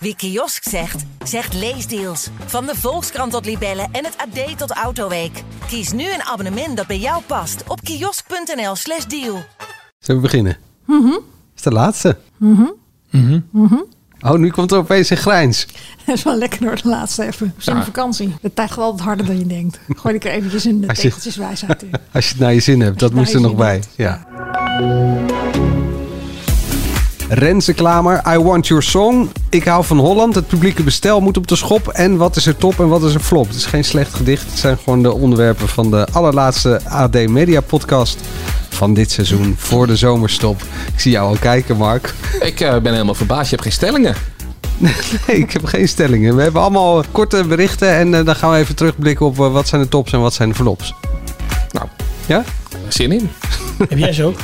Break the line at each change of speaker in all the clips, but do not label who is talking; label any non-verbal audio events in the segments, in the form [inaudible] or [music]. Wie kiosk zegt, zegt leesdeals. Van de Volkskrant tot Libellen en het AD tot Autoweek. Kies nu een abonnement dat bij jou past op kiosk.nl slash deal.
Zullen we beginnen? Dat is de laatste. Oh, nu komt er opeens een grijns.
[laughs] Dat is wel lekker door de laatste even. We zijn
Ja.
op vakantie. Het tijd gaat altijd harder dan je denkt. Gooi ik er eventjes in de
Als je-
tegeltjes wijsheid in.
Als je het naar je zin hebt, dat
Als
moest
je
er
het
nog
naar je
bij. Ja. Renze Klamer, I Want Your Song. Ik hou van Holland. Het publieke bestel moet op de schop. En wat is er top en wat is er flop? Het is geen slecht gedicht. Het zijn gewoon de onderwerpen van de allerlaatste AD Media podcast van dit seizoen voor de zomerstop. Ik zie jou al kijken, Mark.
Ik eh, ben helemaal verbaasd. Je hebt geen stellingen.
[laughs] Nee, ik heb geen stellingen. We hebben allemaal korte berichten en eh, dan gaan we even terugblikken op eh, wat zijn de tops en wat zijn de flops.
Nou,
Ja?
zin in.
Heb jij ze ook?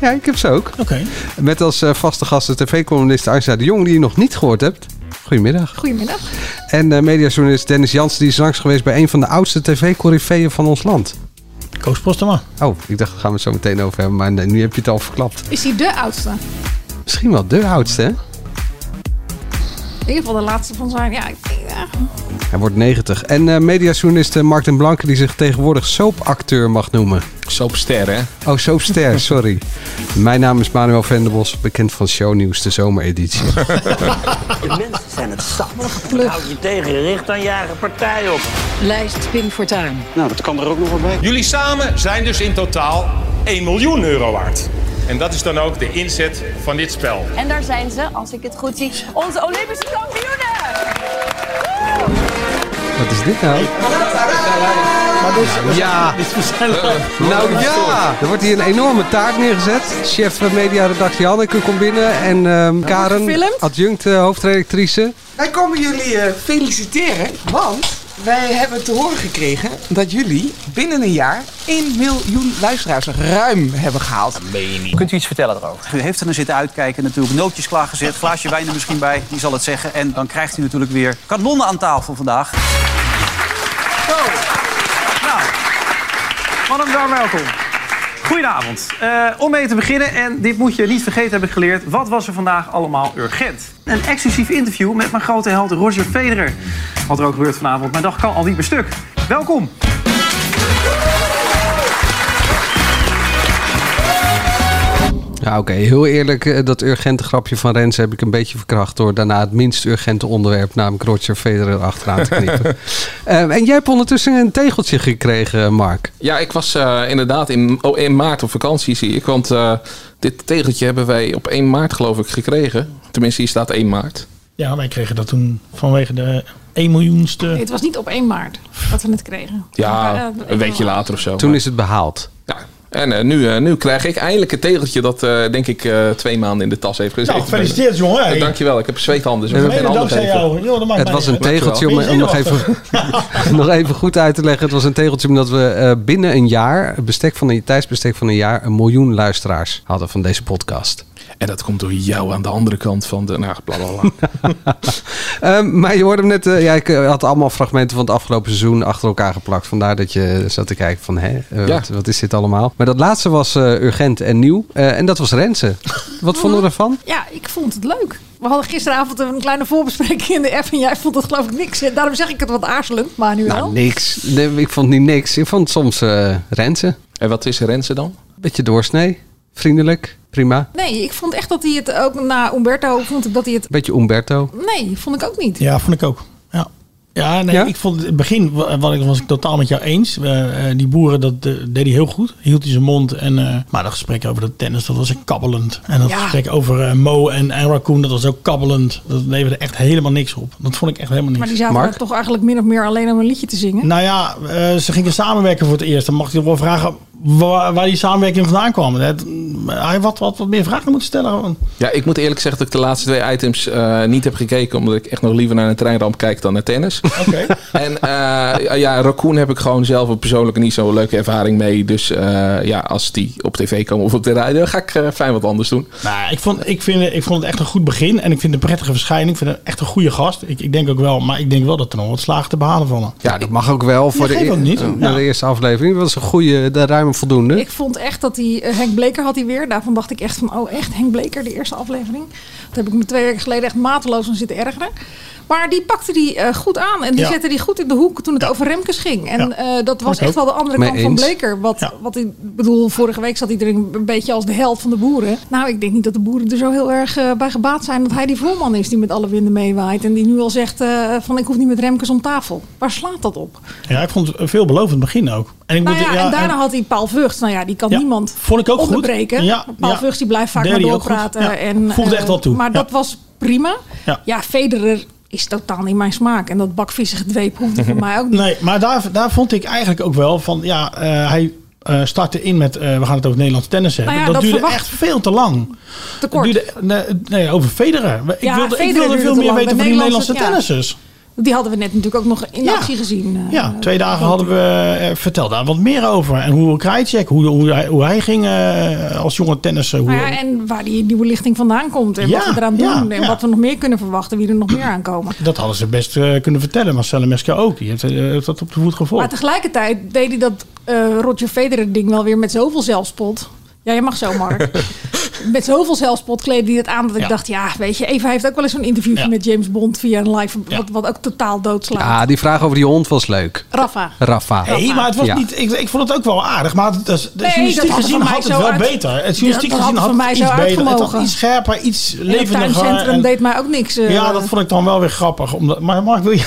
Ja, ik heb ze ook.
Oké.
Met als eh, vaste gast de tv-columnist Angela de Jong, die je nog niet gehoord hebt. Goedemiddag.
Goedemiddag.
En eh mediajournalist Dennis Jansen, die is langs geweest bij een van de oudste tv-corifeeën van ons land.
Koos Postema.
Oh, ik dacht, daar gaan we het zo meteen over hebben, maar nee, nu heb je het al verklapt.
Is hij de oudste? In
Misschien wel de oudste, hè?
ieder geval de laatste van zijn. Ja, ik- ja.
Hij wordt 90. En eh mediajournalist eh, Mark den Blanke, die zich tegenwoordig soapacteur mag noemen.
Soapster, hè?
Oh, soapster, sorry. Mijn naam is Manuel Venderbos, bekend van Shownieuws, de zomereditie. [laughs]
De mensen zijn het zat. Houd je tegen, richt dan je eigen partij op.
Lijst Pim Fortuyn.
Nou, dat kan er ook nog wel bij.
Jullie samen zijn dus in totaal 1 miljoen euro waard. En dat is dan ook de inzet van dit spel.
En daar zijn ze, als ik het goed zie, onze Olympische kampioenen!
Wat is dit nou? Ja,
Dit is waarschijnlijk
nou ja! Er wordt hier een enorme taart neergezet. Chef eh, mediaredactie Hanneke komt binnen en ehm, Karen,
gefilmd?
adjunct eh, hoofdredactrice.
Wij komen jullie eh, feliciteren, want wij hebben te horen gekregen dat jullie binnen een jaar 1 miljoen luisteraars ruim hebben gehaald.
Kunt u iets vertellen erover? U heeft er naar zitten uitkijken, natuurlijk nootjes klaargezet, glaasje wijn er misschien bij, die zal het zeggen. En dan krijgt u natuurlijk weer kanonnen aan tafel vandaag. Zo. Nou, mannen, daar welkom. Goedenavond. Eh, om mee te beginnen, en dit moet je niet vergeten hebben geleerd... wat was er vandaag allemaal urgent? Een exclusief interview met mijn grote held Roger Federer. Wat er ook gebeurt vanavond, mijn dag kan al niet meer stuk. Welkom.
Ja, oké. Heel eerlijk, eh, dat urgente grapje van Rens heb ik een beetje verkracht door daarna het minst urgente onderwerp, namelijk Roger Federer, achteraan te [laughs] knippen. Ehm, en jij hebt ondertussen een tegeltje gekregen, Mark.
Ja, ik was eh, inderdaad in, oh, in maart op vakantie, zie ik. Want eh, dit tegeltje hebben wij op 1 maart, geloof ik, gekregen. Tenminste, hier staat 1 maart.
Ja, wij kregen dat toen vanwege de 1 miljoenste.
Het was niet op 1 maart dat we het kregen. Maar,
Ja,
eh, ik-
een weekje later of zo.
Toen
Maar-
is het behaald.
Ja. En eh, nu, eh, nu krijg ik eindelijk het tegeltje dat, eh, denk ik, eh, twee maanden in de tas heeft gezeten.
Nou, gefeliciteerd jongen.
Eh,
Hey.
Dankjewel, ik heb zweethanden. Dus ik
De
moet geen
hele dag
handen
zei
geven.
jou. Joh, Oh, dat maakt
Het
mij
was
niet
een
uit.
tegeltje om,
Ben je
om nog,
zenuwachtig?
even, nog even [laughs] goed uit te leggen. Het was een tegeltje omdat we eh, binnen een jaar, het bestek van een tijdsbestek van een jaar, een miljoen luisteraars hadden van deze podcast.
En dat komt door jou aan de andere kant van de... Nou, blablabla.
Ehm, maar je hoorde hem net, eh, ja, ik eh, had allemaal fragmenten van het afgelopen seizoen achter elkaar geplakt. Vandaar dat je zat te kijken van, hè, eh,
Ja.
wat, wat is dit allemaal? Maar dat laatste was eh, urgent en nieuw. Eh, en dat was Rensen. Wat vonden we daarvan?
Ja, ik vond het leuk. We hadden gisteravond een kleine voorbespreking in de app en jij vond het geloof ik niks. Ja, Daarom zeg ik het wat aarzelend, maar nu wel.
Nou, niks. Nee, ik vond niet niks. Ik vond soms eh Rensen.
[laughs] en wat is Rensen dan?
Beetje doorsnee. Vriendelijk. Prima.
Nee, ik vond echt dat hij het ook na Umberto vond ik dat hij het.
Beetje Umberto.
Nee, vond ik ook niet.
Ja, vond ik ook. Ja. Ja, nee,
Ja?
ik vond het begin wa- wat ik, was ik totaal met jou eens. Eh, eh, die boeren, dat eh, deed hij heel goed. Hield hij zijn mond. En, eh, maar dat gesprek over de tennis, dat was echt kabbelend. En dat
Ja.
gesprek over eh, Mo en, en Raccoon, dat was ook kabbelend. Dat leverde echt helemaal niks op. Dat vond ik echt helemaal niks.
Maar die zaten
Mark?
er toch eigenlijk min of meer alleen om een liedje te zingen.
Nou ja, eh, ze gingen samenwerken voor het eerst. Dan mag je wel vragen waar, waar die samenwerking vandaan kwam. Het- Hij had wat, wat, meer vragen moeten stellen. gewoon.
Ja, ik moet eerlijk zeggen dat ik de laatste twee items eh, niet heb gekeken. Omdat ik echt nog liever naar een treinramp kijk dan naar [laughs] tennis.
Oké. [laughs]
en eh, ja, Raccoon heb ik gewoon zelf een persoonlijke niet zo'n leuke ervaring mee. Dus eh, ja, als die op tv komen of op de radio, dan ga ik eh, fijn wat anders doen.
Nou, ik vond, ik, vind, ik vond het echt een goed begin. En ik vind het een prettige verschijning. Ik vind het echt een goede gast. Ik, ik denk ook wel, maar ik denk wel dat er nog wat slagen te behalen vallen.
Ja, dat mag ook wel voor
Ja,
de,
geeft ook niet.
eh, naar de
Ja.
eerste aflevering. Dat was een goede, de ruime voldoende.
Ik vond echt dat hij. eh, Henk Bleker had hij weer weer. Daarvan dacht ik echt van, oh echt, Henk Bleker, de eerste aflevering. Dat heb ik me twee weken geleden echt mateloos aan zitten ergeren. Maar die pakte die eh, goed aan en die
Ja.
zette die goed in de hoek toen het over Remkes ging. En
Ja.
eh, dat was
Ook.
echt wel de andere
Mee
kant van
eens.
Bleker. Wat,
Ja.
wat ik bedoel, vorige week zat iedereen een beetje als de held van de boeren. Nou, ik denk niet dat de boeren er zo heel erg eh, bij gebaat zijn dat hij die voorman is die met alle winden meewaait. En die nu al zegt eh, van ik hoef niet met Remkes om tafel. Waar slaat dat op?
Ja, ik vond het veelbelovend begin ook. En ik
Nou
moet-
ja, en daarna
en-
had hij Paul Vught. Nou ja, die kan
Ja,
niemand
vond ik ook goed.
onderbreken.
Ja,
Paul
ja.
Vught die blijft vaak
Deed
maar
hij ook goed.
doorpraten.
Ja,
En,
voegde
eh,
echt wat toe.
Maar
Ja.
dat was prima.
Ja.
Ja. Federer is totaal niet mijn smaak. En dat bakvissige dweep hoefde
[laughs]
voor mij ook niet.
Nee, maar daar, daar vond ik eigenlijk ook wel van, ja, eh, hij eh, startte in met, eh, we gaan het over Nederlands tennis hebben.
Nou ja,
dat,
dat
duurde
verwacht-
echt veel te lang.
Te
Dat
kort.
duurde, nee, nee, over Federer. Ik
Ja,
wilde,
Federer
ik wilde
duurde
veel
te
meer
lang.
weten
Bij
van die Nederlandse
Nederlandse-
tennissers.
Die hadden we net natuurlijk ook nog in
Ja.
actie gezien. eh,
Ja, twee dagen
want-
hadden we, eh, vertel daar wat meer over. En hoe Krajcek, hoe, hoe, hij, hoe hij ging eh, als jonge tennisser. Hoe,
Nou ja, en waar die nieuwe lichting vandaan komt. En
Ja,
wat we eraan
ja,
doen. En
ja.
wat we nog meer kunnen verwachten. Wie er nog meer aankomen.
Dat hadden ze best eh, kunnen vertellen. Marcel Mesker ook, die heeft, eh, heeft dat op de voet
Maar
gevolgd.
tegelijkertijd deed hij dat eh, Roger Federer ding wel weer met zoveel zelfspot. Ja, je mag zo,
[laughs]
Mark. met zoveel zelfspot kleedde hij het aan dat ik
Ja.
dacht... ja, weet je, Eva heeft ook wel eens zo'n interviewje
Ja.
met James Bond... via een live,
Ja.
wat, wat ook totaal doodslaat.
Ja, Ah, die vraag over die hond was leuk.
Rafa.
Rafa.
Nee, maar het was
Ja.
niet, ik, ik vond het ook wel aardig. Maar het, het, het
Nee,
journalistiek
dat had
gezien
van mij
had het
zo
wel
uit-
beter. Het journalistiek
dat had
gezien
van
had
mij
het
zo
iets beter. Het had
uitgemogen.
iets scherper, iets
In het
levendiger.
tuincentrum
en-
deed mij ook niks. eh.
ja, dat vond ik dan wel weer grappig. Omdat, maar Mark, wil je...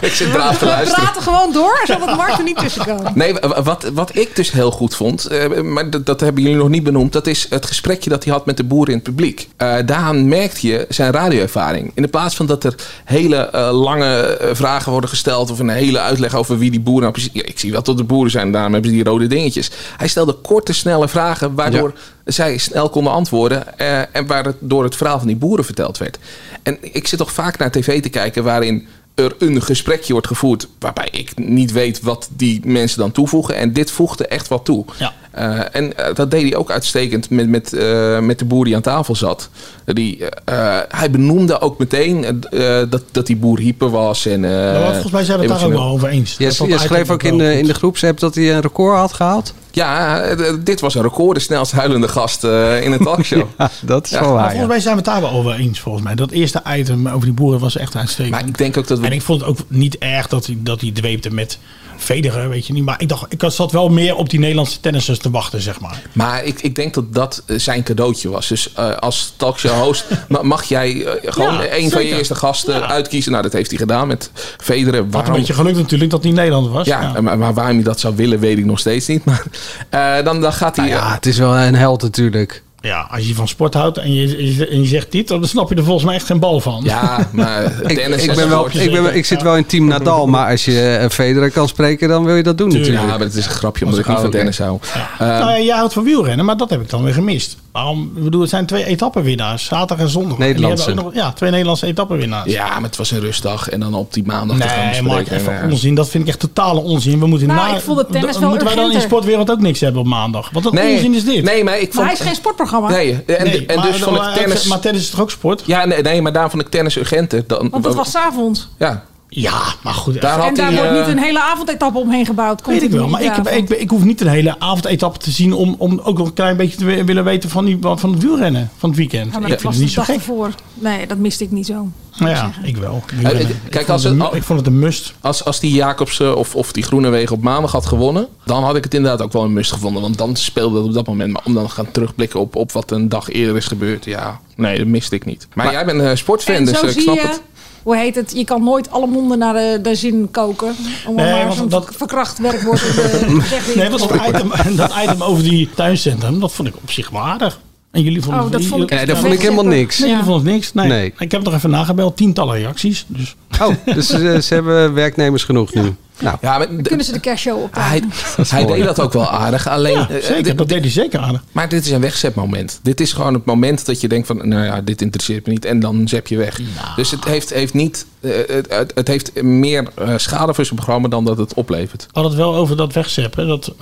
Ik zit braaf te
We
luisteren.
praten gewoon door, zodat Mark er niet tussen kan.
Nee, wa- wat, wat ik dus heel goed vond, eh, maar dat, dat hebben jullie nog niet benoemd, dat is het gesprekje dat hij had met de boeren in het publiek. Eh daaraan merkte je zijn radioervaring. In de plaats van dat er hele eh, lange eh, vragen worden gesteld of een hele uitleg over wie die boeren nou precies. Ja, ik zie wel dat de boeren zijn, daarom hebben ze die rode dingetjes. Hij stelde korte, snelle vragen waardoor zij snel konden antwoorden eh, en waardoor het verhaal van die boeren verteld werd. En ik zit toch vaak naar tv te kijken waarin er een gesprekje wordt gevoerd waarbij ik niet weet wat die mensen dan toevoegen. En dit voegde echt wat toe.
Ja.
Eh, en eh, dat deed hij ook uitstekend met, met, eh, met de boer die aan tafel zat. Die, eh, eh, hij benoemde ook meteen eh, eh, dat, dat die boer hyper was. En, eh,
Nou, want volgens mij zijn we het daar ook
emotioneel.
wel over eens.
Je,
Dat dat
je
eigenlijk
schreef ook in
wel
de,
goed-
in de groepsapp dat hij een record had gehaald.
Ja, eh, dit was een record. De snelst huilende gast eh, in een talkshow.
[laughs]
Ja, dat is
Ja,
wel
maar
Maar
waar.
volgens
ja.
mij zijn we het daar wel over eens, volgens mij. Dat eerste item over die boeren was echt uitstekend.
Maar ik denk ook dat we...
En ik vond het ook niet erg dat hij, dat hij dweepte met Federer, weet je niet. Maar ik dacht, ik zat wel meer op die Nederlandse tennissers te wachten, zeg maar.
Maar ik, ik denk dat dat eh, zijn cadeautje was. Dus eh, als talkshow
[laughs]
host ma- mag jij eh, gewoon
Ja,
een van je
zeker.
eerste gasten
Ja.
uitkiezen. Nou, dat heeft hij gedaan met Federer.
Wat
Waarom?
een beetje geluk natuurlijk dat hij Nederlander was.
ja, Maar, maar waarom hij dat zou willen, weet ik nog steeds niet. [laughs] Maar eh, dan, dan gaat hij...
Nou ja, het is wel een held natuurlijk.
Ja, als je van sport houdt en je, je- en je zegt dit, dan snap je er volgens mij echt geen bal van.
eh, ja,
[laughs]
maar
Ik,
tennis
ik,
is
ben wel,
een
ik, ben, wel- ik zit wel in team Nadal, maar als je een Federer kan spreken, dan wil je dat doen
Tuurlijk.
Ja,
natuurlijk.
maar het is een grapje omdat ik
Dat
niet
is
van
oké.
tennis hou. Eh,
Nou Oh, ja, jij houdt van wielrennen, maar dat heb ik dan weer gemist. Waarom? Ik bedoel, het zijn twee etappenwinnaars, zaterdag en zondag. En die
Nederlandse.
hebben ook nog- ja, twee Nederlandse etappenwinnaars.
ja, maar het was een rustdag. En dan op die maandag te gaan
Nee,
bespreken.
Mark, even
Eh,
onzin. Dat vind ik echt totale onzin. We moeten
Nou,
na-
ik vond het tennis
dan
wel
Moeten wij dan in de
urgenter.
sportwereld ook niks hebben op maandag? Wat een onzin is dit?
Nee, maar
Maar
ik vond...
hij is geen sportprogramma.
Nee, en,
Nee,
en
maar-
dus vond ik
maar-
tennis...
Maar tennis is toch ook sport?
Ja, nee, nee, maar daarom vond ik tennis urgenter. Dan,
Want het was s'avonds.
Ja,
Ja, maar goed.
daar had
En daar
hij...
wordt
eh,
niet een hele avondetappe omheen gebouwd. Komt
Weet ik
er
wel,
niet
maar ik, heb,
daarvan.
ik, ik hoef niet een hele avondetappe te zien om, om ook nog een klein beetje te wi- willen weten van, die, van het wielrennen van het weekend.
Ja, maar dat
ik vind
was
het niet
de dag
zo gek.
ervoor. Nee, dat miste ik niet zo.
Nou ja, ik wel.
Eh,
Wielrennen.
eh,
Ik
kijk,
vond
als
het
het-
een mu- ik vond het een must.
Als, als die Jacobsen of, of die Groenewegen op maandag had gewonnen, dan had ik het inderdaad ook wel een must gevonden. Want dan speelde dat op dat moment. Maar om dan te gaan terugblikken op, op wat een dag eerder is gebeurd, ja, nee, dat miste ik niet. Maar, jij bent een sportfan,
en
dus
zo
eh, ik
zie
snap
je,
het.
hoe heet het, je kan nooit alle monden naar de, de zin koken. Om
Nee,
maar
want
zo'n
dat-
verkracht werkwoord in de zeg in
Nee,
te
want
[laughs]
stoppen.
dat item, dat item over die tuincentrum, dat vond ik op zich wel aardig. En jullie vonden
Oh, dat
jullie-
vond ik,
Nee,
echt
dat vond ik
wegzetten.
helemaal niks.
Nee, jullie vonden het niks. Nee.
Nee.
Ik heb nog even nagebeld. Tientallen reacties. Dus
Oh, dus eh, ze hebben werknemers genoeg nu. Nou,
Ja, maar d-
Kunnen ze de kerstshow op?
hij, [laughs] hij
mooi.
deed dat ook wel aardig. Alleen,
ja,
eh,
zeker.
dit-
dat deed hij zeker aardig.
maar dit is een wegzetmoment. Dit is gewoon het moment dat je denkt van, nou ja, dit interesseert me niet. En dan zet je weg.
Nou.
Dus het heeft, heeft niet, eh, het, het- het heeft meer eh, schade voor zijn programma dan dat het oplevert.
Had het wel over dat wegzeppen. Dat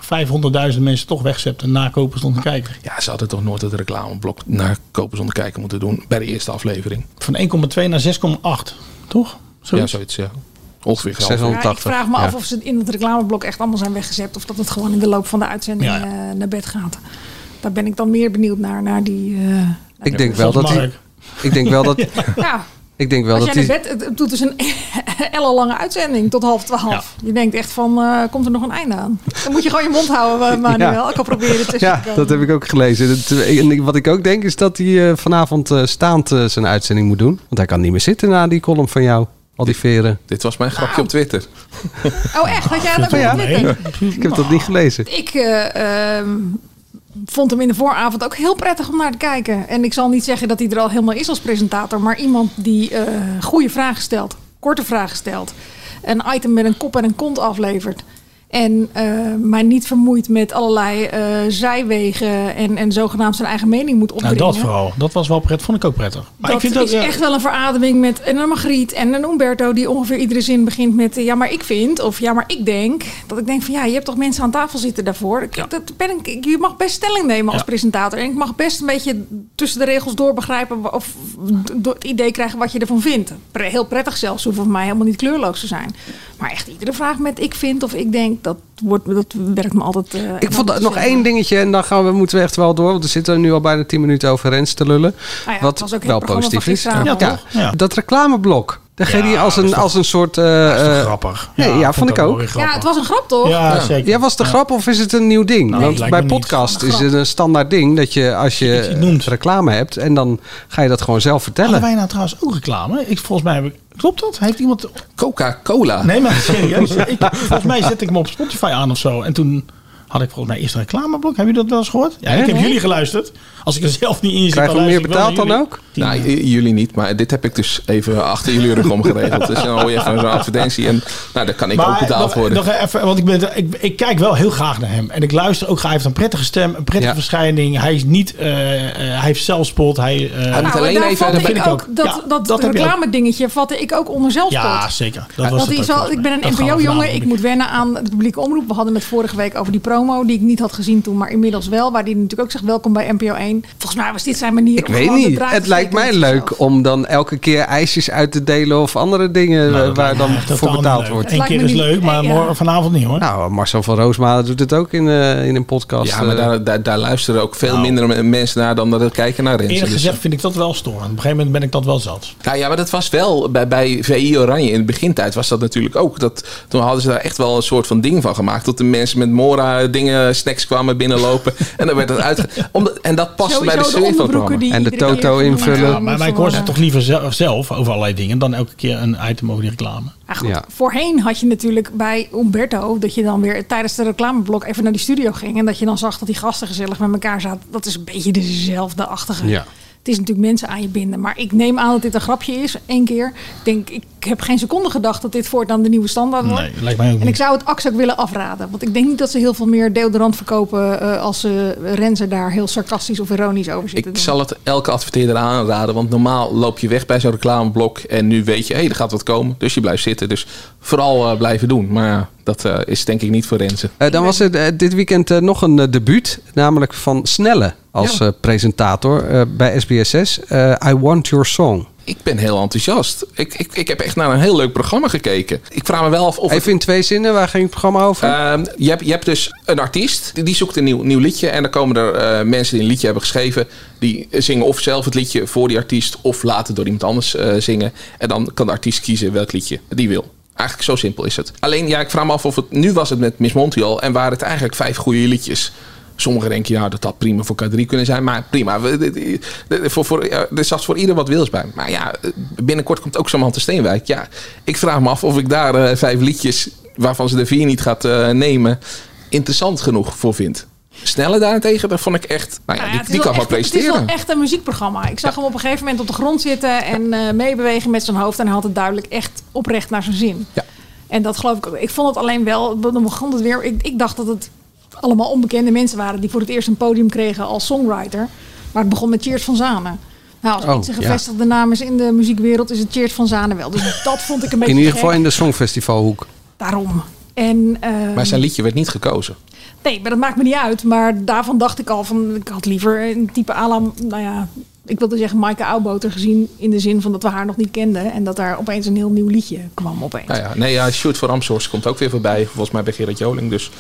500.000 mensen toch wegzepten en nakopen stonden te kijken.
Ja, ze hadden toch nooit het reclameblok naar Kopen zonder kijken moeten doen bij de eerste aflevering.
Van 1,2 naar 6,8. Toch?
Ja,
Zoiets.
zoiets, ja. Ongeveer
Zes
geld.
honderd.
Ja, ik vraag me
Ja.
af of ze het in het reclameblok echt allemaal zijn weggezet. Of dat het gewoon in de loop van de uitzending
Ja, ja.
eh, naar bed gaat. Daar ben ik dan meer benieuwd naar, naar die... eh,
Ik denk wel dat
Volgens
hij... Ik denk wel dat...
ja,
Ik denk wel
als
dat
jij naar
hij...
bed... Het, het doet dus een [laughs] ellenlange uitzending tot half twaalf. Je denkt echt van, eh, komt er nog een einde aan? Dan moet je gewoon je mond houden, eh,
[laughs]
Manuel.
Ja.
Ik kan proberen [laughs] tussen te
Ja,
komen.
dat heb ik ook gelezen. Dat- en ik- wat ik ook denk is dat hij eh, vanavond eh, staand eh, zijn uitzending moet doen. Want hij kan niet meer zitten na die column van jou. Al die veren.
Dit was mijn grapje op Twitter.
Oh echt, had jij dat ook
Ja.
op Twitter?
Ik heb dat niet gelezen.
Ik eh, ehm, vond hem in de vooravond ook heel prettig om naar te kijken. En ik zal niet zeggen dat hij er al helemaal is als presentator, maar iemand die eh, goede vragen stelt, korte vragen stelt, een item met een kop en een kont aflevert. En eh, mij niet vermoeit met allerlei eh, zijwegen en, en zogenaamd zijn eigen mening moet
Nou,
opdringen.
dat vooral. Dat was wel prettig. Vond ik ook prettig. Maar
dat
ik vind
is
ja,
echt wel een verademing met en een Margriet en een Umberto die ongeveer iedere zin begint met eh, ja maar ik vind of ja maar ik denk dat ik denk van ja je hebt toch mensen aan tafel zitten daarvoor. Ik- Dat ben ik, ik- je mag best stelling nemen als
Ja.
presentator en ik mag best een beetje tussen de regels door begrijpen wa- of door het idee krijgen wat je ervan vindt. Pre- Heel prettig zelfs hoeft voor mij helemaal niet kleurloos te zijn. Maar echt iedere vraag met ik vind of ik denk dat wordt dat werkt me altijd. eh,
Ik
enorm
vond dat
te
nog
zeggen.
één dingetje en dan gaan we, moeten we echt wel door. Want er zitten nu al bijna 10 minuten over Rens te lullen.
Nou ja, het was
wat
ook het
wel
programma van
positief is.
gisteravond,
Ja, toch? Ja.
Dat reclameblok. Daar ging
Ja,
hij als
dat is
een,
toch-
als een soort... eh,
dat is toch
eh,
grappig.
nee, ja, vond ik
dat
ook.
wel weer
Ja,
grappig.
het was een grap toch?
Ja, zeker.
Ja, was de grap of is het een nieuw ding?
Nou, het
Want
lijkt
bij
me niet.
podcast
Gewoon een
is het een standaard ding dat je als je
iets noemt.
eh, reclame hebt en dan ga je dat gewoon zelf vertellen.
Hadden wij nou trouwens ook reclame? Ik, volgens mij heb ik... Klopt dat? Heeft iemand...
Coca-Cola.
Nee, maar serieus. Ik, volgens mij zette ik hem op Spotify aan of zo. En toen had ik volgens mij eerst een reclameblok. Hebben jullie dat wel eens gehoord? Ja, ik heb jullie geluisterd. Als ik er zelf niet in zit,
Krijgen we
dan
meer
luister ik wel
betaald dan
naar
ook?
jullie.
Nou, j- jullie niet, maar dit heb ik dus even achter jullie rug om geregeld. Dus dan hoor je even zo'n advertentie en nou, daar kan ik ook betaald
nog-
worden.
nog even, want ik, ben, ik, ik kijk wel heel graag naar hem. En ik luister ook. Hij heeft een prettige stem, een prettige
Ja.
verschijning. Hij is niet. eh, eh, hij heeft zelfspot. Hij, eh,
moet
Nou, en
alleen
daar
even-
vatte
dat
vind
ik
ik
ook,
ook.
dat,
Ja,
dat,
dat heb je ook.
reclame dingetje vatte ik ook onder zelfspot.
ja, zeker. Dat was
dat
het
is
ook
wel,
volgens
ik
mij.
ben een
Dat gaan we
NPO-jongen.
vanavond
Ik
doen.
moet wennen aan de publieke omroep. We hadden het vorige week over die promo die ik niet had gezien toen, maar inmiddels wel. Waar die natuurlijk ook zegt: welkom bij NPO 1. Volgens mij was dit zijn manier.
Ik
om
weet
gewoon de
niet.
draad
Het
te
lijkt mij
steken met
leuk
zichzelf.
om dan elke keer ijsjes uit te delen of andere dingen
Nou,
eh,
dat
waar
lijkt
dan
me totaal
voor
niet
betaald
leuk.
wordt.
Eén
Lijkt
keer
me
is
niet-
leuk, maar
eh, ja.
morgen vanavond niet hoor.
Nou, Marcel van Roosmalen doet het ook in, eh, in een podcast.
Ja, maar
eh.
daar, daar, daar luisteren ook veel
Nou.
minder me- mensen naar dan dat er kijken naar Rensen.
Eerlijk
Dus-
gezegd vind ik dat wel storend. Op een gegeven moment ben ik dat wel zat.
Nou ja, maar dat was wel bij, bij VI Oranje in de begintijd was dat natuurlijk ook. Dat, toen hadden ze daar echt wel een soort van ding van gemaakt. Dat de mensen met Mora dingen, snacks kwamen
[laughs]
binnenlopen. en dan werd dat uitge... Omdat, en dat paste bij de
Sowieso
sfeer van het
onderbroeken
programma.
die
En de
iedere keer
toto
genoemd
invullen.
Ja,
Ja,
worden.
maar, maar ik hoor ze toch liever zel- zelf over allerlei dingen dan elke keer een item over die reclame.
Ja, Ah, goed.
Ja.
Voorheen had je natuurlijk bij Umberto dat je dan weer tijdens de reclameblok even naar die studio ging. En dat je dan zag dat die gasten gezellig met elkaar zaten. Dat is een beetje dezelfde achtige.
Ja.
Het is natuurlijk mensen aan je binden. Maar ik neem aan dat dit een grapje is. Eén keer. Ik denk, ik heb geen seconde gedacht dat dit voortaan de nieuwe standaard wordt.
Nee, lijkt mij ook
En ik
niet.
zou het Axe ook willen afraden. Want ik denk niet dat ze heel veel meer deodorant verkopen eh, als ze Renze daar heel sarcastisch of ironisch over zitten.
Ik
doen.
zal het elke adverteerder aanraden. Want normaal loop je weg bij zo'n reclameblok. En nu weet je, hé, er gaat wat komen. Dus je blijft zitten. Dus vooral eh, blijven doen. Maar ja, dat eh, is denk ik niet voor Rensen.
Eh, dan was er eh, dit weekend eh, nog een eh, debuut, namelijk van Snelle als eh, presentator eh, bij SBS6. eh, I Want Your Song.
Ik ben heel enthousiast. Ik, ik, ik heb echt naar een heel leuk programma gekeken. Ik vraag me wel af of het
Even in twee zinnen, waar ging het programma
Eh,
over?
Ehm, je, hebt, je hebt dus een artiest, die, die zoekt een nieuw, nieuw liedje. En dan komen er eh, mensen die een liedje hebben geschreven. Die zingen of zelf het liedje voor die artiest, of laten door iemand anders eh, zingen. En dan kan de artiest kiezen welk liedje die wil. Eigenlijk zo simpel is het. Alleen, ja, ik vraag me af of het nu was het met Miss Montiel. En waren het eigenlijk vijf goede liedjes. Sommigen denken, ja, dat had prima voor K3 kunnen zijn. Maar prima, We- de- de- de- voor, voor, ja, er zat voor ieder wat wils bij. Maar ja, eh, binnenkort komt ook zo'n man te Steenwijk. Ja, ik vraag me af of ik daar eh, vijf liedjes waarvan ze de vier niet gaat eh, nemen, interessant genoeg voor vindt. Snelle daarentegen, daar vond ik echt. Nou
Nou
ja,
ja,
die,
het is
die
wel
kan wel
echt- Het
presteren.
is wel echt een muziekprogramma. Ik zag hem op een gegeven moment op de grond zitten en eh, meebewegen met zijn hoofd. En hij had het duidelijk echt oprecht naar zijn zin.
Ja.
En dat geloof ik ook. Ik vond het alleen wel, dan begon het weer. Ik, ik dacht dat het allemaal onbekende mensen waren die voor het eerst een podium kregen als songwriter. Maar het begon met Cheers van Zanen. Nou, als
Oh,
iets een
ja.
gevestigde naam is in de muziekwereld, is het Cheers van Zanen wel. Dus dat vond ik een beetje
in ieder geval
gek.
in de Songfestivalhoek.
Daarom. En, eh,
Maar zijn liedje werd niet gekozen.
Nee, maar dat maakt me niet uit. Maar daarvan dacht ik al van, ik had liever een type ala, nou ja, ik wilde zeggen Maaike Oudboter gezien in de zin van dat we haar nog niet kenden. En dat daar opeens een heel nieuw liedje kwam opeens.
Nou ja, nee, ja, Shoot voor Amshorst komt ook weer voorbij. Volgens mij bij Gerard Joling. Dus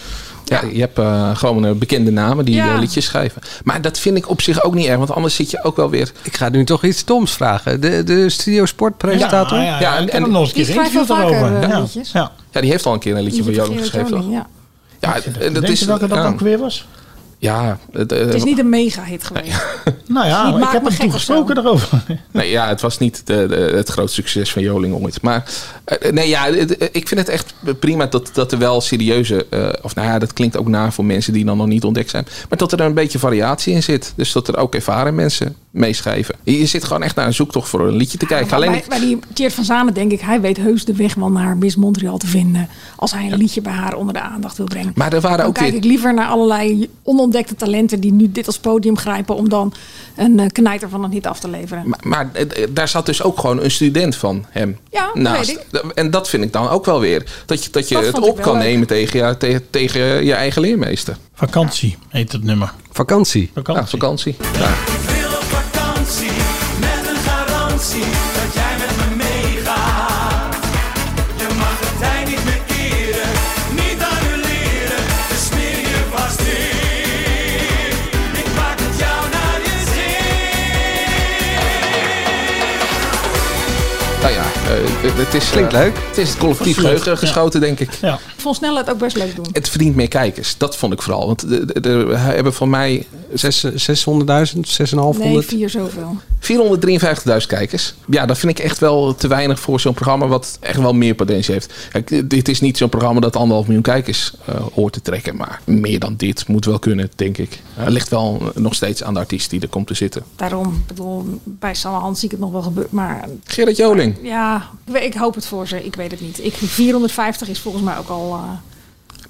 ja, je hebt eh, gewoon eh, bekende namen die
Ja.
eh, liedjes schrijven. Maar dat vind ik op zich ook niet erg. Want anders zit je ook wel weer...
Ik ga nu toch iets stoms vragen. De, de Studio Sportpresentator?
Ja, ja,
Ja, en-
en,
en-
nog eens een
Die
keer
schrijft wel
interview
vaker
daarover.
eh,
Ja.
liedjes.
Ja.
Ja, die heeft al een keer een liedje voor Joling
Gerard
geschreven. toch?
Joling, ja.
Ja, en dat
Weet
is...
je welke dat
ja,
ook weer was?
Ja, het, eh,
Het is niet een mega-hit geweest.
Nou ja,
Niet
maar ik
Maak
heb
Me
hem
Gek
toen
of zo.
gesproken daarover.
Nee, ja, het was niet de, de- het grootste succes van Joling ooit. Maar eh, nee, ja, het- eh, ik vind het echt prima dat, dat er wel serieuze... eh, of nou ja, dat klinkt ook na voor mensen die dan nog niet ontdekt zijn. Maar dat er een beetje variatie in zit. Dus dat er ook ervaren mensen meeschrijven. Je je zit gewoon echt naar een zoektocht voor een liedje te kijken.
Maar
Alleen
bij,
ik-
bij die Tjeerd van Zamen denk ik, hij weet heus de weg wel naar Miss Montreal te vinden. Als hij een liedje bij haar onder de aandacht wil brengen.
Maar er waren
dan
ook
kijk
weer-
ik liever naar allerlei onontdekte talenten die nu dit als podium grijpen. Om dan een eh, knijter van een hit af te leveren.
Maar, maar, eh, daar zat dus ook gewoon een student van hem
Ja, dat
naast.
weet
En dat vind ik dan ook wel weer. Dat je, dat je
Dat
het
vond ik
op
wel
kan
leuk.
nemen tegen, ja, tegen, tegen je eigen leermeester.
[laughs] Vakantie heet het nummer.
Vakantie.
Vakantie.
Ja, vakantie. Ja. Nou ja, eh, het is,
Klinkt
eh,
leuk.
Het is het collectief
Absoluut,
geheugen
ja.
geschoten, denk ik.
Ja.
Ik vond Snelle het ook best leuk doen.
Het verdient meer kijkers. Dat vond ik vooral. Want de- de- de- we hebben van mij eh,
Zes- 600.000, 6.500.
Nee, vier zoveel.
453.000 kijkers. Ja, dat vind ik echt wel te weinig voor zo'n programma wat echt wel meer potentie heeft. Kijk, dit is niet zo'n programma dat anderhalf miljoen kijkers eh, hoort te trekken. Maar meer dan dit moet wel kunnen, denk ik. Het ligt wel eh, nog steeds aan de artiest die er komt te zitten.
Daarom, ik bedoel, bij Sanne Hans zie ik het nog wel gebeuren. Maar
Gerrit Joling.
ja, ik we- ik hoop het voor ze. Ik weet het niet. Ik, 450 is volgens mij ook al... eh,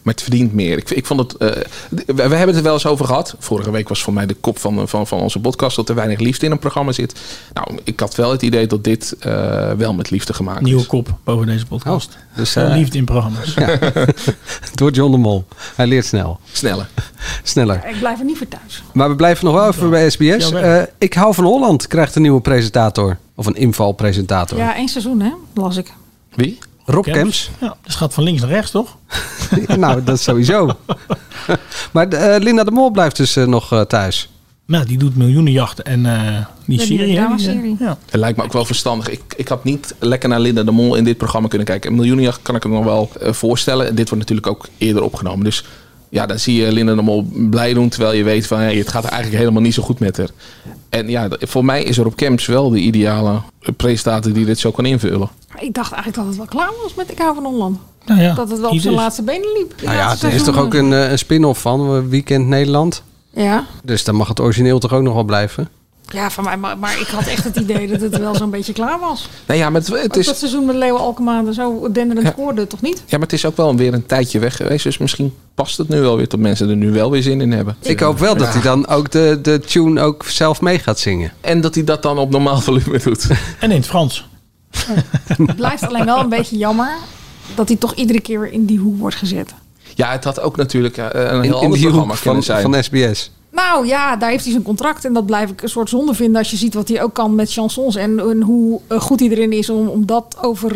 Maar het verdient meer. Ik, ik vond het. eh, d- we, we hebben het er wel eens over gehad. Vorige week was voor mij de kop van, eh, van, van onze podcast dat er weinig liefde in een programma zit. Nou, ik had wel het idee dat dit eh, wel met liefde gemaakt
Nieuwe
is.
kop boven deze podcast.
Oh, dus,
Eh,
eh,
Liefde in programma's.
Door John de Mol. Hij leert snel.
Sneller.
Sneller.
ik blijf er niet voor thuis.
Maar we blijven nog wel even bij SBS.
Ja,
Eh, ik hou van Holland krijgt een nieuwe presentator. Of een invalpresentator.
Ja, één seizoen hè, las ik.
Wie?
Rob Kemps.
Ja, dus gaat van links naar rechts, toch?
[laughs] nou, dat sowieso. maar eh, Linda de Mol blijft dus eh, nog eh, thuis.
Nou, die doet miljoenenjachten en eh die
Ja, die
serie. hè,
dramaserie.
ja.
Het lijkt me ook wel verstandig. Ik, ik had niet lekker naar Linda de Mol in dit programma kunnen kijken. Een miljoenenjacht kan ik hem nog wel eh, voorstellen. En dit wordt natuurlijk ook eerder opgenomen. Dus ja, dan zie je Linda de Mol blij doen. Terwijl je weet van hey, het gaat eigenlijk helemaal niet zo goed met haar. En ja, d- voor mij is er op Camps wel de ideale eh, presentator die dit zo kan invullen.
Maar Ik dacht eigenlijk dat het wel klaar was met Ik hou van Holland.
Nou ja,
Dat het wel op
hier
zijn
dus.
laatste benen liep.
Nou ja,
Laatste
er is toch
seizoen.
ook een, eh, een spin-off van eh, Weekend Nederland.
Ja.
Dus dan mag het origineel toch ook nog wel blijven.
ja, van mij. Maar, maar ik had echt het idee dat het wel zo'n beetje klaar was.
Nou ja, maar het, het
Het is...
is
Dat seizoen met Leo Alkmaar zo denderend
Ja.
scoorde, toch niet?
Ja, maar het is ook wel weer een tijdje weg geweest. Dus misschien past het nu wel weer tot mensen er nu wel weer zin in hebben.
Ik hoop wel dat hij dan ook de, de tune ook zelf mee gaat zingen.
En dat hij dat dan op normaal volume doet.
En in het Frans.
Het blijft alleen wel een beetje jammer dat hij toch iedere keer in die hoek wordt gezet.
Ja, het had ook natuurlijk eh, een
In,
heel
in
ander
die
programma
hoek van,
kunnen zijn.
van SBS.
Nou ja, daar heeft hij zijn contract. En dat blijf ik een soort zonde vinden als je ziet wat hij ook kan met chansons. En, en hoe eh, goed hij erin is om, om dat over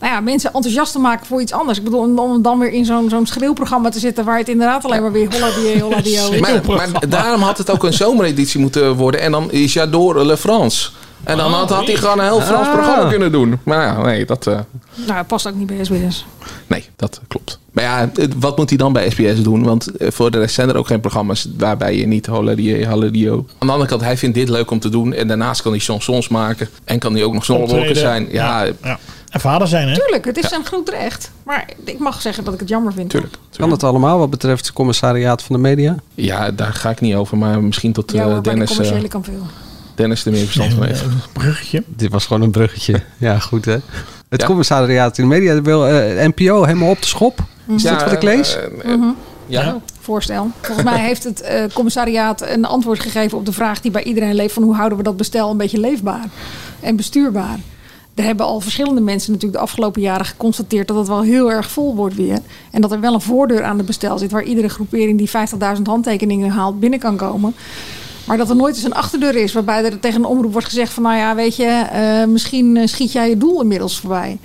nou ja, mensen enthousiast te maken voor iets anders. Ik bedoel, om, om dan weer in zo'n zo'n schreeuwprogramma te zitten waar het inderdaad alleen maar weer holla die holla die oh.
maar, maar daarom had het ook een zomereditie moeten worden. En dan is J'adore Le France. En dan had, had hij gewoon een heel Frans
Ah.
programma kunnen doen. Maar ja, nee, dat... eh,
[laughs] Nou, het past ook niet bij SBS.
Nee, dat klopt. Maar ja, het- wat moet hij dan bij SBS doen? Want eh, voor de rest zijn er ook geen programma's waarbij je niet Holladio, Holladio. Aan de andere kant, hij vindt dit leuk om te doen. En daarnaast kan hij chansons maken. En kan hij ook nog zonnewolken
Optreden.
zijn. Ja,
ja. En vader zijn, hè?
Tuurlijk, het is zijn groot recht. Maar ik mag zeggen dat ik het jammer vind.
tuurlijk.
Kan dat allemaal wat betreft het commissariaat van de media?
Ja, daar ga ik niet over. Maar misschien tot
Ja,
eh,
hoor, bij de
Dennis, eh,
commerciële kan veel.
Dennis er meer verstand van heeft.
Een bruggetje.
Dit was gewoon een bruggetje. [laughs] Ja, goed hè. Het
Ja.
commissariaat in de media wil eh, NPO helemaal op de schop.
Mm.
Is
Ja,
dat wat ik lees?
eh, eh,
Mhm.
Ja.
Voorstel. Volgens mij heeft het eh, commissariaat een antwoord gegeven op de vraag die bij iedereen leeft: van hoe houden we dat bestel een beetje leefbaar en bestuurbaar? Er hebben al verschillende mensen natuurlijk de afgelopen jaren geconstateerd dat het wel heel erg vol wordt weer. En dat er wel een voordeur aan het bestel zit waar iedere groepering die 50.000 handtekeningen haalt binnen kan komen. Maar dat er nooit eens een achterdeur is waarbij er tegen een omroep wordt gezegd van nou ja, weet je, eh, misschien eh, schiet jij je doel inmiddels voorbij.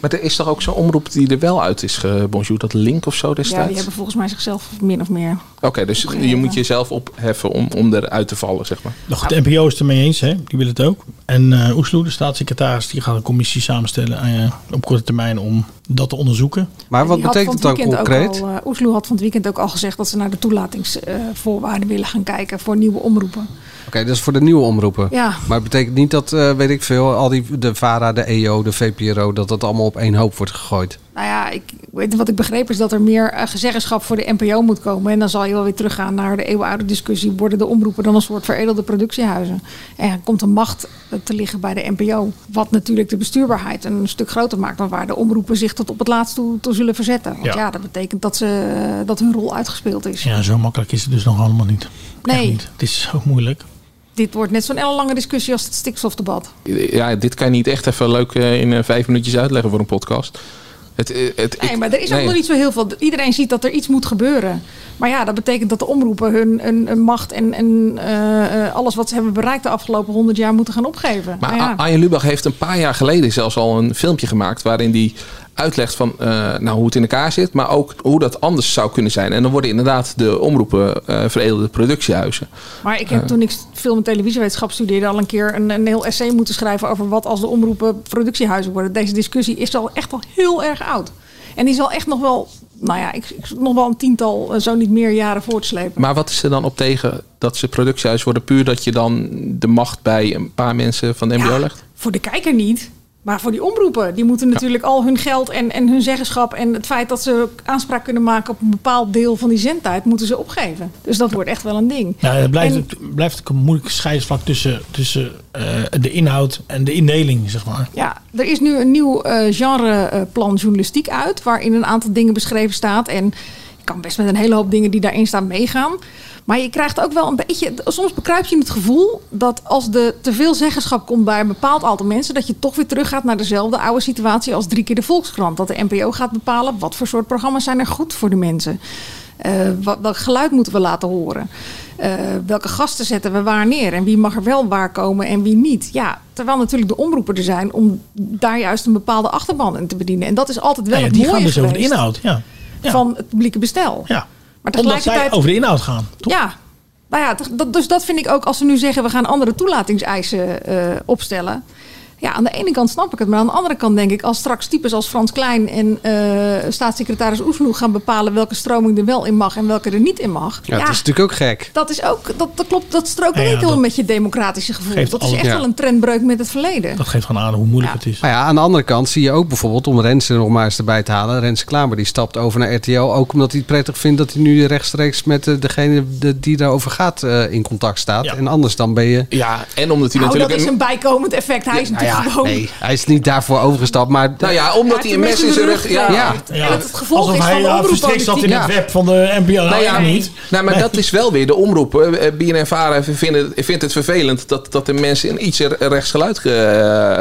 Maar er is toch ook zo'n omroep die er wel uit is gebonjourd? Dat Link of zo
Ja, die
destijds?
hebben volgens mij zichzelf min of meer.
Oké, dus je moet jezelf opheffen om, om eruit te vallen, zeg maar.
Nou goed, de NPO is het ermee eens, hè? die wil het ook. En eh Oesloe, de staatssecretaris, die gaat een commissie samenstellen eh, op korte termijn om dat te onderzoeken.
Maar wat
Die had
betekent het
van
dan
het weekend ook
concreet?
al, eh, Oesloe had van het weekend ook al gezegd dat ze naar de toelatingsvoorwaarden willen gaan kijken voor nieuwe omroepen.
Oké, dat is voor de nieuwe omroepen.
eh. Ja.
Maar het betekent niet dat, eh, weet ik veel, al die, de VARA, de EO, de VPRO, dat dat allemaal op één hoop wordt gegooid.
Nou ja, ik, weet- wat ik begreep is dat er meer eh, gezeggenschap voor de NPO moet komen. En dan zal je wel weer teruggaan naar de eeuwenoude discussie. Worden de omroepen dan een soort veredelde productiehuizen? En komt de macht eh, te liggen bij de NPO? Wat natuurlijk de bestuurbaarheid een stuk groter maakt dan waar de omroepen zich tot op het laatst toe, toe zullen verzetten. Want ja,
Ja.
dat betekent dat, ze, eh, dat hun rol uitgespeeld is.
Ja, zo makkelijk is het dus nog allemaal niet. Echt
Nee.
niet. Het is zo moeilijk.
Dit wordt net zo'n ellenlange discussie als het stikstofdebat.
Ja, dit kan je niet echt even leuk eh, in eh, vijf minuutjes uitleggen voor een podcast. Het, eh, het,
Nee,
ik-
maar er is ook
nee.
nog niet zo heel veel. Iedereen ziet dat er iets moet gebeuren. Maar ja, dat betekent dat de omroepen hun, hun, hun macht en, en eh, eh, alles wat ze hebben bereikt de afgelopen honderd jaar moeten gaan opgeven.
Maar
Nou ja.
A- Arjen Lubach heeft een paar jaar geleden zelfs al een filmpje gemaakt waarin hij uitlegt van eh, nou, hoe het in elkaar zit, maar ook hoe dat anders zou kunnen zijn. En dan worden inderdaad de omroepen eh veredelde productiehuizen.
Maar ik heb
Eh.
toen ik film- en televisiewetenschap studeerde al een keer een, een heel essay moeten schrijven over wat als de omroepen productiehuizen worden. Deze discussie is al echt al heel erg oud. En die zal echt nog wel, nou ja, ik, ik- nog wel een tiental, eh, zo niet meer jaren voortslepen.
Maar wat is er dan op tegen dat ze productiehuis worden? Puur dat je dan de macht bij een paar mensen van de MBO
Ja,
legt?
Voor de kijker niet. Maar voor die omroepen, die moeten natuurlijk al hun geld en, en hun zeggenschap en het feit dat ze aanspraak kunnen maken op een bepaald deel van die zendtijd, moeten ze opgeven. Dus dat wordt echt wel een ding.
Ja, het blijft,
En-
het blijft een moeilijk scheidsvlak tussen, tussen eh, de inhoud en de indeling, zeg maar.
Ja, er is nu een nieuw eh, genreplan journalistiek uit, waarin een aantal dingen beschreven staat. En ik kan best met een hele hoop dingen die daarin staan meegaan. Maar je krijgt ook wel een beetje, soms bekruip je het gevoel dat als de teveel zeggenschap komt bij een bepaald aantal mensen, dat je toch weer teruggaat naar dezelfde oude situatie als drie keer de Volkskrant. Dat de NPO gaat bepalen wat voor soort programma's zijn er goed voor de mensen. Eh, wat, welk geluid moeten we laten horen? Eh, welke gasten zetten we waar neer? En wie mag er wel waar komen en wie niet? Ja, terwijl natuurlijk de omroepen er zijn om daar juist een bepaalde achterban in te bedienen. En dat is altijd wel
Ja,
het
die
mooie
gaan dus over de
geweest
inhoud. Ja. Ja.
van het publieke bestel.
Ja.
Maar
Omdat zij
tegelijkertijd-
over de inhoud gaan.
Ja. Nou ja, t- dat, dus dat vind ik ook als ze nu zeggen we gaan andere toelatingseisen eh, opstellen. Ja, aan de ene kant snap ik het, maar aan de andere kant denk ik als straks types als Frans Klein en eh, staatssecretaris Oesloe gaan bepalen welke stroming er wel in mag en welke er niet in mag.
Ja, dat is natuurlijk ook gek.
Dat is ook, dat, dat klopt, dat strookt
Ja,
ook
ja,
heel
dat
met je democratische gevoel.
geeft
Dat is
alle-
echt
ja.
wel een trendbreuk met het verleden. Nou,
Dat geeft gewoon aan hoe moeilijk het is.
Maar Nou ja, aan de andere kant zie je ook bijvoorbeeld, om Rensen er nog maar eens erbij te halen, Rensen Klamer die stapt over naar RTL, ook omdat hij het prettig vindt dat hij nu rechtstreeks met eh, degene de- die daarover gaat eh, in contact staat.
Ja.
En anders dan ben je... Nou
Ja, en omdat hij
Nou, dat
natuurlijk...
is een bijkomend effect. Hij is natuurlijk gewoon...
nee, hij is niet daarvoor overgestapt, maar...
Nou ja, omdat hij
heeft
een mes in zijn rug... Ja,
Ja.
Ja.
En dat het gevolg
Alsof
is van
hij
de
eh, verstrikt zat
omroeppolitiek.
in het
Ja.
web van de NPO.
Nou ja,
Nee.
niet. Nou, maar dat is wel weer de omroepen. Eh, BNNVARA vinden- vindt het vervelend dat, dat de mensen een iets re- rechtsgeluid eh,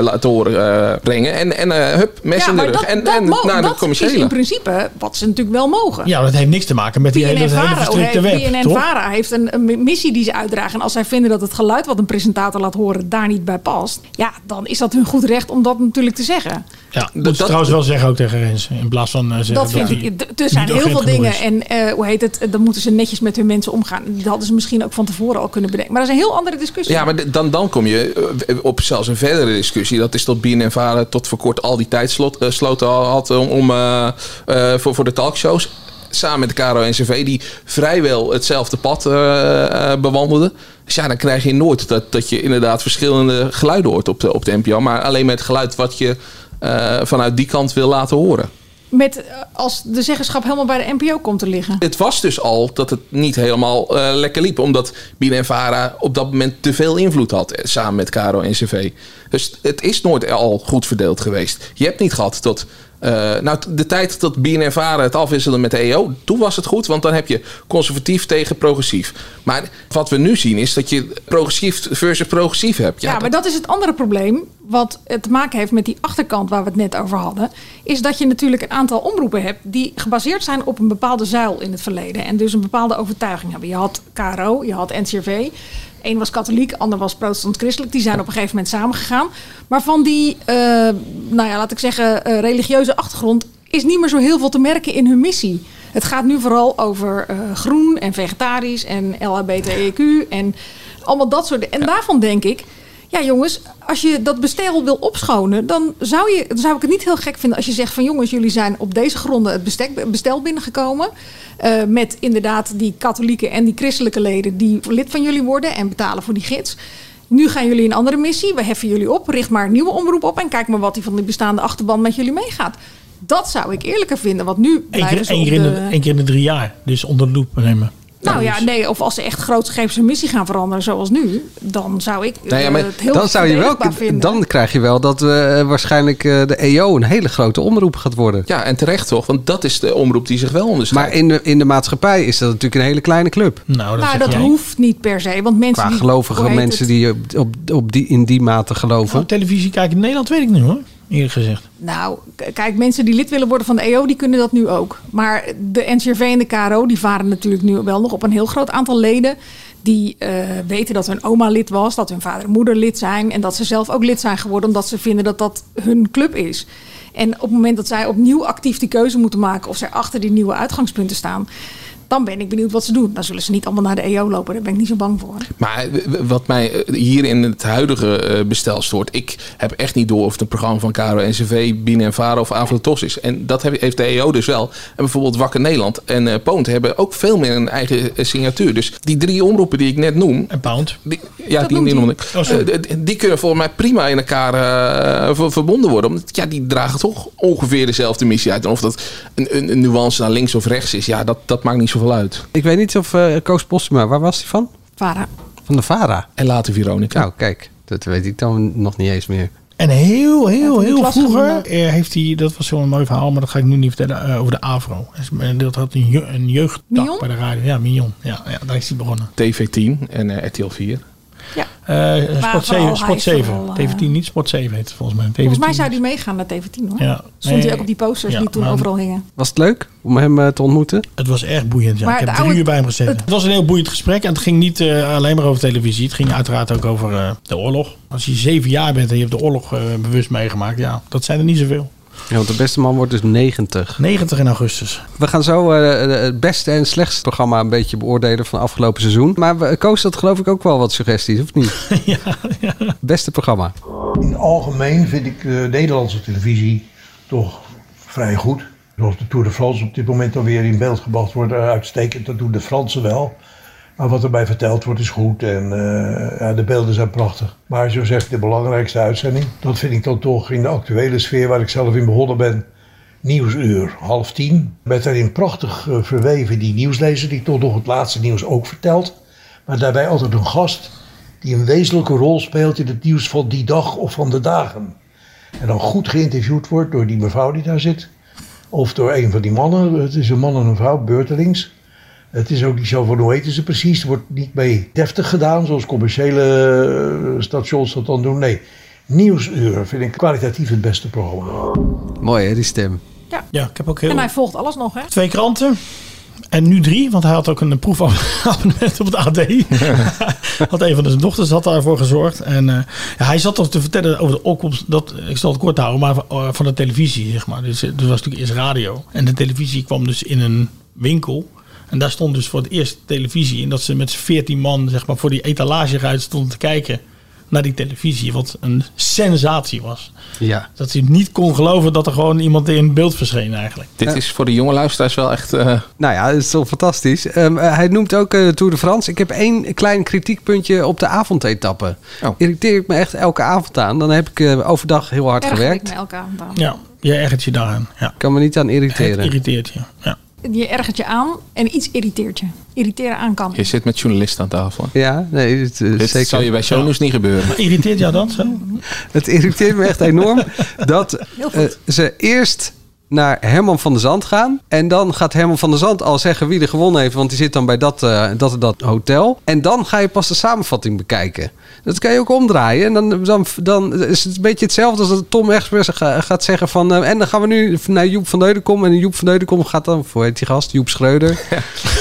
laten horen eh, brengen. En, en eh, hup, mes in de rug. en en
mo-
naar de
dat is in
commerciële.
principe wat ze natuurlijk wel mogen.
Ja, maar dat heeft niks te maken met die hele, dat hele
BNNVARA
verstrikte
heeft,
web, toch?
BNNVARA heeft een, een missie die ze uitdragen. En als zij vinden dat het geluid wat een presentator laat horen daar niet bij past... ja, dan is dat hun goed recht om dat natuurlijk te zeggen.
Ja, moet
dat-
ze trouwens wel zeggen ook tegen Rens. In plaats van eh, zeggen
dat
dat,
vind
hij
ik... d- Er
niet
zijn heel
urgent
veel
genoeg
dingen en
is.
eh, hoe heet het... dan moeten ze netjes met hun mensen omgaan. Dat hadden ze misschien ook van tevoren al kunnen bedenken. Maar dat is een heel andere discussie.
Ja, maar d- dan, dan kom je eh, op zelfs een verdere discussie. Dat is dat BNNVARA tot voor kort al die tijdsloten eh, sloten al had om, om, eh, eh, voor, voor de talkshows. Samen met de KRO-NCV, die vrijwel hetzelfde pad eh, eh, bewandelden. Dus ja, dan krijg je nooit dat, dat je inderdaad verschillende geluiden hoort op de, op de NPO. Maar alleen met het geluid wat je eh, vanuit die kant wil laten horen.
Met, eh, als de zeggenschap helemaal bij de NPO komt te liggen.
Het was dus al dat het niet helemaal eh, lekker liep. Omdat Vara op dat moment te veel invloed had. eh, Samen met Caro en CV. Dus het is nooit al goed verdeeld geweest. Je hebt niet gehad dat. eh, nou, t- de tijd dat Vara het afwisselde met de EO. Toen was het goed, want dan heb je conservatief tegen progressief. Maar wat we nu zien is dat je progressief versus progressief hebt.
Ja, maar dat is het andere probleem. wat eh, te maken heeft met die achterkant waar we het net over hadden, is dat je natuurlijk een aantal omroepen hebt die gebaseerd zijn op een bepaalde zuil in het verleden. En dus een bepaalde overtuiging hebben. Je had KRO, je had NCRV. Eén was katholiek, ander was protestant-christelijk. Die zijn op een gegeven moment samengegaan. Maar van die, eh, nou ja, laat ik zeggen, eh, religieuze achtergrond is niet meer zo heel veel te merken in hun missie. Het gaat nu vooral over eh, groen en vegetarisch en LHBTEQ E en allemaal dat soort. En daarvan denk ik, ja jongens, als je dat bestel wil opschonen, dan zou, je, dan zou ik het niet heel gek vinden als je zegt van jongens, jullie zijn op deze gronden het bestek, bestel binnengekomen. eh, met inderdaad die katholieke en die christelijke leden die lid van jullie worden en betalen voor die gids. Nu gaan jullie een andere missie, we heffen jullie op, richt maar een nieuwe omroep op en kijk maar wat die van die bestaande achterban met jullie meegaat. Dat zou ik eerlijker vinden, want nu
Eén
blijven
keer,
ze
één
op
keer in de,
de-
één keer in de drie jaar. Dus onder de loep nemen.
nou ja, nee, of als ze echt grootscheeps hun missie gaan veranderen, zoals nu, dan zou ik
Nou ja,
eh,
maar
het heel
dan zou je wel,
verdedigbaar vinden.
dan krijg je wel dat eh, waarschijnlijk eh, de EO een hele grote omroep gaat worden.
Ja, en terecht toch? Want dat is de omroep die zich wel onderscheidt.
Maar in de, in de maatschappij is dat natuurlijk een hele kleine club.
Nou,
nou, dat hoeft niet per se, want mensen
Qua
die,
gelovige
hoe heet
mensen
het?
die op, op, op die, in die mate geloven.
Nou, televisie kijken in Nederland weet ik niet hoor. Eerlijk gezegd.
Nou, k- kijk, mensen die lid willen worden van de EO, die kunnen dat nu ook. Maar de NCRV en de KRO, die varen natuurlijk nu wel nog op een heel groot aantal leden. Die eh, weten dat hun oma lid was, dat hun vader en moeder lid zijn. En dat ze zelf ook lid zijn geworden, omdat ze vinden dat dat hun club is. En op het moment dat zij opnieuw actief die keuze moeten maken, of zij achter die nieuwe uitgangspunten staan. Dan ben ik benieuwd wat ze doen. Dan zullen ze niet allemaal naar de EO lopen. Daar ben ik niet zo bang voor.
Maar w- wat mij eh, hier in het huidige eh, bestel stoort... ik heb echt niet door of het een programma van Caro NCV, Bienen en Varen of Avrotos is. En dat heb- heeft de EO dus wel. En bijvoorbeeld Wakker Nederland en eh Poont hebben ook veel meer een eigen eh, signatuur. Dus die drie omroepen die ik net noem...
En pound.
Die, ja,
noemt
die, die,
hij.
noemde ik.
Oh, sorry.
Eh, d- d- die kunnen volgens mij prima in elkaar eh, ver- verbonden worden. Omdat ja, die dragen toch ongeveer dezelfde missie uit. En of dat een, een, een nuance naar links of rechts is, ja, dat, dat maakt niet zoveel uit.
Ik weet niet of eh, Koos Postuma, waar was hij van?
Vara.
Van de VARA.
En later Veronica.
Nou, kijk, dat weet ik dan nog niet eens meer.
En heel, heel,
die
heel
klas
vroeger
gewonnen.
eh, heeft hij, dat was zo'n mooi verhaal, maar dat ga ik nu niet vertellen, eh, over de AVRO. En Dat had een, je- een jeugdtak
Mignon?
bij de radio. Ja, Mignon. Ja, ja, daar is hij begonnen.
TV10 en eh, RTL 4.
Eh
vooral
Sport 7,
hij
Sport 7.
vooral, eh,
TV10 niet, Sport 7 heet het volgens mij.
Volgens mij
TV10.
zou die meegaan naar TV10 hoor.
Ja.
Stond
Nee,
hij ook op die posters
ja,
die toen
maar-
overal hingen.
Was het leuk om hem eh, te ontmoeten?
Het was erg boeiend. Ja.
Maar
ik heb
het
drie
oude-
uur bij hem gezeten. Het, was een heel boeiend gesprek. En het ging niet eh, alleen maar over televisie. Het ging uiteraard ook over eh, de oorlog. Als je zeven jaar bent en je hebt de oorlog eh, bewust meegemaakt. Ja, dat zijn er niet zoveel.
Ja, want de beste man wordt dus 90.
90 in augustus.
We gaan zo eh, het beste en slechtste programma een beetje beoordelen van afgelopen seizoen. Maar we- Koos had geloof ik ook wel wat suggesties, of niet?
[laughs] ja, ja.
Beste programma.
In het algemeen vind ik de Nederlandse televisie toch vrij goed. Zoals de Tour de France op dit moment alweer in beeld gebracht wordt, eh, uitstekend. Dat doen de Fransen wel. Maar wat erbij verteld wordt is goed en eh, ja, de beelden zijn prachtig. Maar zo zegt de belangrijkste uitzending, dat vind ik dan toch in de actuele sfeer waar ik zelf in begonnen ben, nieuwsuur, half tien. Werd daarin prachtig eh, verweven die nieuwslezer die toch nog het laatste nieuws ook vertelt. Maar daarbij altijd een gast die een wezenlijke rol speelt in het nieuws van die dag of van de dagen. En dan goed geïnterviewd wordt door die mevrouw die daar zit. Of door een van die mannen. Het is een man en een vrouw, beurtelings. Het is ook niet zo van hoe heten ze precies. Er wordt niet mee deftig gedaan zoals commerciële eh, stations dat dan doen. Nee, Nieuwsuur vind ik kwalitatief het beste programma.
Mooi hè, die stem.
ja, ik heb ook heel
En hij volgt alles nog hè.
twee kranten. En nu drie, want hij had ook een proefabonnement op het AD. had een van zijn dochters had daarvoor gezorgd. En eh, ja, hij zat toch te vertellen over de opkomst. Dat, ik zal het kort houden, maar van, eh, van de televisie, zeg maar. Dus eh, er was natuurlijk eerst radio. En de televisie kwam dus in een winkel. En daar stond dus voor het eerst televisie. En dat ze met z'n veertien man, zeg maar, voor die etalage uit stonden te kijken naar die televisie. Wat een sensatie was.
Ja.
Dat hij niet kon geloven dat er gewoon iemand in beeld verscheen eigenlijk.
Dit is voor de jonge luisteraars wel echt. eh,
Nou ja, dat is toch fantastisch. Ehm, eh, hij noemt ook eh, Tour de France. Ik heb één klein kritiekpuntje op de avondetappen.
Oh.
Irriteer ik me echt elke avond aan. Dan heb ik eh, overdag heel hard
Erger ik
gewerkt.
me elke avond aan.
Ja, je ergert je daaraan. Ja.
Kan me niet aan
Het
irriteren.
irriteert je. Ja.
Je ergert je aan en iets irriteert je. Irriteren aan kan.
je zit met journalisten aan tafel. hè?
Ja, nee, het, eh,
Dit
zeker.
zou je bij Shownews niet gebeuren.
Irriteert jou dat zo?
Het irriteert me echt enorm dat
Heel goed.
eh, ze eerst naar Herman van der Zand gaan. En dan gaat Herman van der Zand al zeggen wie er gewonnen heeft. Want die zit dan bij dat, eh, dat en dat hotel. En dan ga je pas de samenvatting bekijken. Dat kan je ook omdraaien. En dan, dan, dan is het een beetje hetzelfde als dat Tom Express ga- gaat zeggen van... eh, en dan gaan we nu naar Joep van Deudekom. En Joep van Deudekom gaat dan, voor heet die gast? Joep
[laughs]
Schreuder.
[laughs]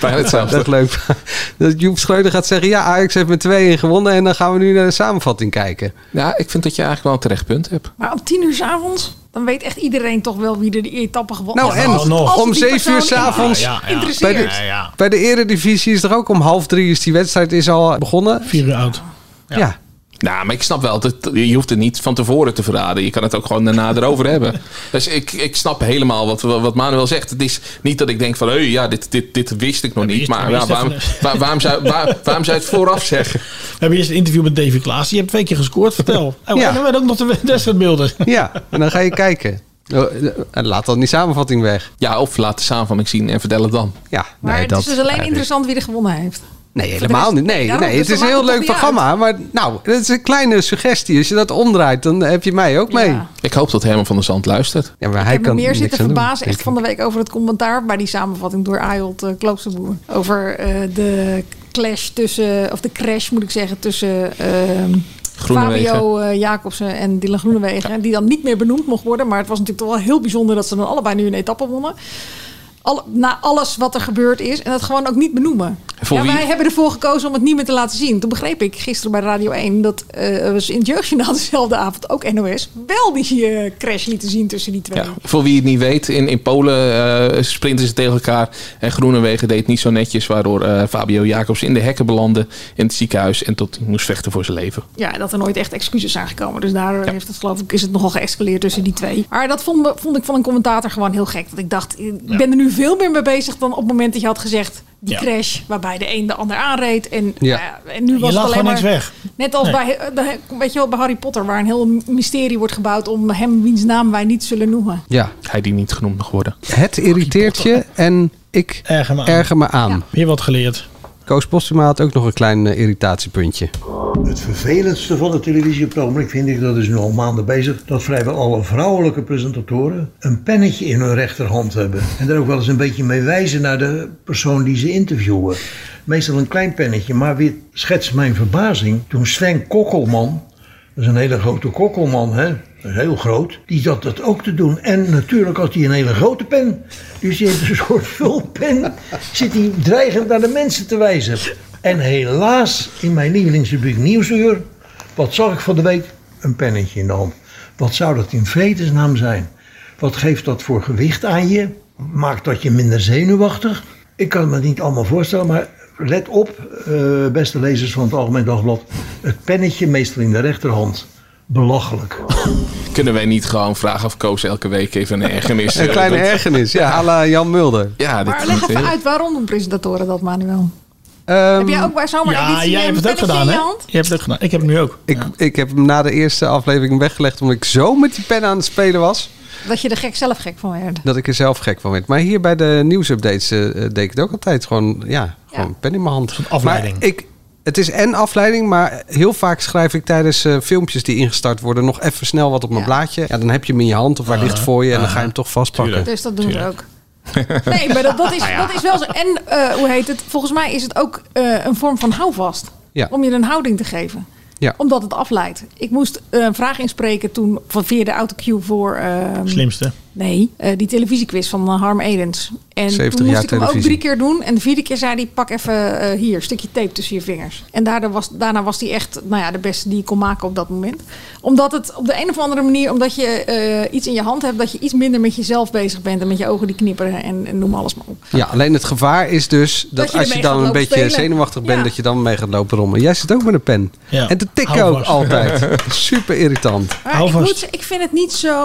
Bijna hetzelfde.
Dat is leuk. [laughs] Dat Joep Schreuder gaat zeggen... ja, Ajax heeft met 2-1 gewonnen... en dan gaan we nu naar de samenvatting kijken.
Ja, ik vind dat je eigenlijk wel een terecht punt hebt.
Maar om tien uur s'avonds, dan weet echt iedereen toch wel wie er die etappe gewonnen
Nou,
heeft.
en
Als- als
om
die
zeven uur
persoon
s'avonds...
in-
Bij, de-
Interesseert.
bij de eredivisie is er ook om half drie... is die wedstrijd is al begonnen.
Vier uur oud.
Ja.
Nou, maar ik snap wel, dat, je hoeft het niet van tevoren te verraden. Je kan het ook gewoon daarna [laughs] erover hebben. Dus ik, ik snap helemaal wat, wat Manuel zegt. Het is niet dat ik denk van, hé, ja, dit, dit, dit wist ik nog niet. Maar
wie
ja,
is dat
waarom,
van-
waar- waarom, zou, waar- waarom zou je het vooraf zeggen?
We hebben eerst een interview met Davy Klaas. Je hebt twee keer gescoord,
[laughs]
vertel. Oh,
Ja.
En dan werden ook nog de wedstrijdbeelden.
Ja, en dan ga je kijken. Oh, eh, en Laat dan die samenvatting weg.
Ja, of laat de samenvatting zien en vertel het dan.
Ja,
Maar
nee,
het
dat
is dus alleen
nee.
interessant wie er gewonnen heeft.
Nee, helemaal niet. Nee,
daarom,
nee
dus
het
dan
is een
maakt
heel leuk
het toch niet
programma. Maar nou, dat is een kleine suggestie. Als je dat omdraait, dan heb je mij ook mee.
Ja.
Ik hoop dat Herman van der Zand luistert.
Ja, maar
Ik
hij
heb me
kan
meer
niks
zitten
aan doen,
verbazen
denk
echt
ik.
van de week over het commentaar bij die samenvatting door Ayolt uh, Kloosterboer. Over eh, de clash tussen, of de crash moet ik zeggen, tussen ehm,
Groenewegen.
Fabio eh, Jacobsen en Dylan Groenewegen. Die dan niet meer benoemd mocht worden. Maar het was natuurlijk toch wel heel bijzonder dat ze dan allebei nu een etappe wonnen. Alle, na alles wat er gebeurd is. En dat gewoon ook niet benoemen.
Voor
ja,
wie-
wij hebben ervoor gekozen om het niet meer te laten zien. Toen begreep ik gisteren bij Radio 1 dat eh, was in het jeugdjournaal [laughs] dezelfde avond, ook NOS, wel die eh, crash lieten zien tussen die twee.
Ja, voor wie het niet weet, in, in Polen eh, sprinten ze tegen elkaar. En Groenewegen deed het niet zo netjes, waardoor eh, Fabio Jacobs in de hekken belandde in het ziekenhuis. En tot hij moest vechten voor zijn leven.
Ja, en dat er nooit echt excuses zijn gekomen. Dus daar heeft het, geloof ik, is het nogal geëscaleerd tussen die twee. Maar dat vond, me- vond ik van een commentator gewoon heel gek. Dat ik dacht, eh, ik ben er nu veel meer mee bezig dan op het moment dat je had gezegd... die
Ja.
crash waarbij de een de ander aanreed. En,
Ja.
nou ja, en nu was
laat
het alleen
gewoon
maar...
niks weg.
Net als
Nee.
bij, eh, de- weet je wel, bij Harry Potter, waar een heel mysterie wordt gebouwd... om hem wiens naam wij niet zullen noemen.
Ja,
Hij die niet genoemd mag worden.
het irriteert je en ik
Erger me aan.
erger me aan.
Weer wat geleerd.
Koos Postuma had ook nog een klein eh, irritatiepuntje.
Het vervelendste van het televisieogenblik vind ik, dat is nu al maanden bezig, dat vrijwel alle vrouwelijke presentatoren een pennetje in hun rechterhand hebben. En daar ook wel eens een beetje mee wijzen naar de persoon die ze interviewen. Meestal een klein pennetje, maar weer schetst mijn verbazing toen Sven Kokkelman, dat is een hele grote kokkelman, hè? Dat is heel groot. Die zat dat ook te doen. En natuurlijk had hij een hele grote pen. Dus die heeft een soort [laughs] vulpen. Zit hij dreigend naar de mensen te wijzen. En helaas, in mijn lievelingsrubriek Nieuwsuur... Wat zag ik van de week? Een pennetje in de hand. Wat zou dat in vredesnaam zijn? Wat geeft dat voor gewicht aan je? Maakt dat je minder zenuwachtig? Ik kan me niet allemaal voorstellen, maar let op, eh, beste lezers van het Algemeen Dagblad. Het pennetje meestal in de rechterhand. Belachelijk.
Kunnen wij niet gewoon vragen of Koos elke week even een ergernis...
Een
eh,
kleine
doet?
ergernis, [laughs] ja, à la Jan Mulder.
Ja, dit eh,
Maar
is
leg
niet
even
heel-
uit waarom doen presentatoren dat, Manuel?
Ehm,
Heb jij ook bij zomaar
ja, jij hebt het ook gedaan, hè? Jij hebt het ook gedaan. Ik heb het nu ook.
ik, ik heb hem na de eerste aflevering weggelegd omdat ik zo met die pen aan het spelen was.
Dat je er gek zelf gek van werd.
Dat ik er zelf gek van werd. Maar hier bij de nieuwsupdates eh, eh, deed ik het ook altijd. Gewoon, ja, gewoon pen in mijn hand.
afleiding.
Maar ik, het is en afleiding, maar heel vaak schrijf ik tijdens eh, filmpjes die ingestart worden... nog even snel wat op mijn
Ja.
blaadje. Ja, dan heb je hem in je hand of waar ligt het voor je... en dan ga je hem toch vastpakken.
Dus dat doen we ook. Nee, maar dat,
[laughs]
dat,
Nou
is, dat is wel zo. En eh, hoe heet het? Volgens mij is het ook eh, een vorm van houvast.
Ja.
Om je een houding te geven.
Ja.
Omdat het afleidt. Ik moest eh, een vraag inspreken toen van via de autocue voor... ehm,
Slimste.
Nee, eh, die televisiequiz van eh, Harm Edens. En
70
toen moest
jaar
ik hem ook
televisie.
drie keer doen. En de vierde keer zei hij, pak even eh, hier, een stukje tape tussen je vingers. En daardoor was, daarna was hij echt nou ja, de beste die ik kon maken op dat moment. Omdat het op de een of andere manier, omdat je eh, iets in je hand hebt... dat je iets minder met jezelf bezig bent en met je ogen die knipperen en, en noem alles maar op.
Ja, alleen het gevaar is dus dat,
je
als je
ermee
dan
gaat
een beetje
lopen spelen.
zenuwachtig bent,
Ja.
dat je dan mee gaat lopen rommelen. Jij zit ook met een pen.
Ja.
En te tikken
Hou
ook
vast. [laughs]
altijd. Super irritant.
Maar
Hou
ik,
vast.
moet, zeggen, ik vind het niet zo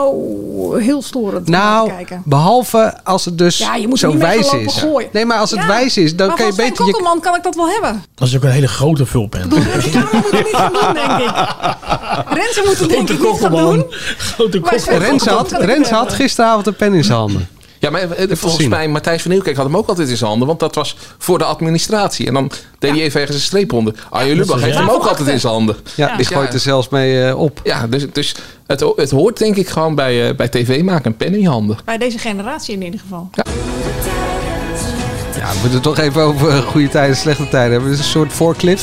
heel storend om naar
Nou,
te kijken.
behalve als het dus
Ja, je moet er
zo
niet mee gaan
wijs
lopen
is.
gooien.
Nee, maar als het
Ja,
wijs is, dan
maar
kan je
van Sven
beter je...
Kokkelman kan ik dat wel hebben.
Dat is ook een hele [laughs] grote vulpen.
Ik bedoel, Renze Kamer moet het niet gaan doen, denk ik. Renze moet het denk ik niet gaan doen.
Grote
Maar
kokkelman.
Sven-
Rens had,
Kokkelman kan ik
Rens
wel
had
hebben.
gisteravond een pen in zijn handen.
Ja, maar eh, volgens
zien.
mij, Matthijs van Nieuwkerk had hem ook altijd in zijn handen. Want dat was voor de administratie. En dan deed hij even ergens een streep onder.
dat
Arjen Lubach
is
heeft
waar.
hem ook altijd in zijn handen.
Ja, die gooit dus- er zelfs mee eh, op.
Ja, dus, dus het, ho- het hoort denk ik gewoon bij, eh, bij tv maken. Een pen in je handen.
Bij deze generatie in ieder geval.
Ja, we moeten het toch even over eh, goede tijden en slechte tijden hebben. Dit is een soort voorclip.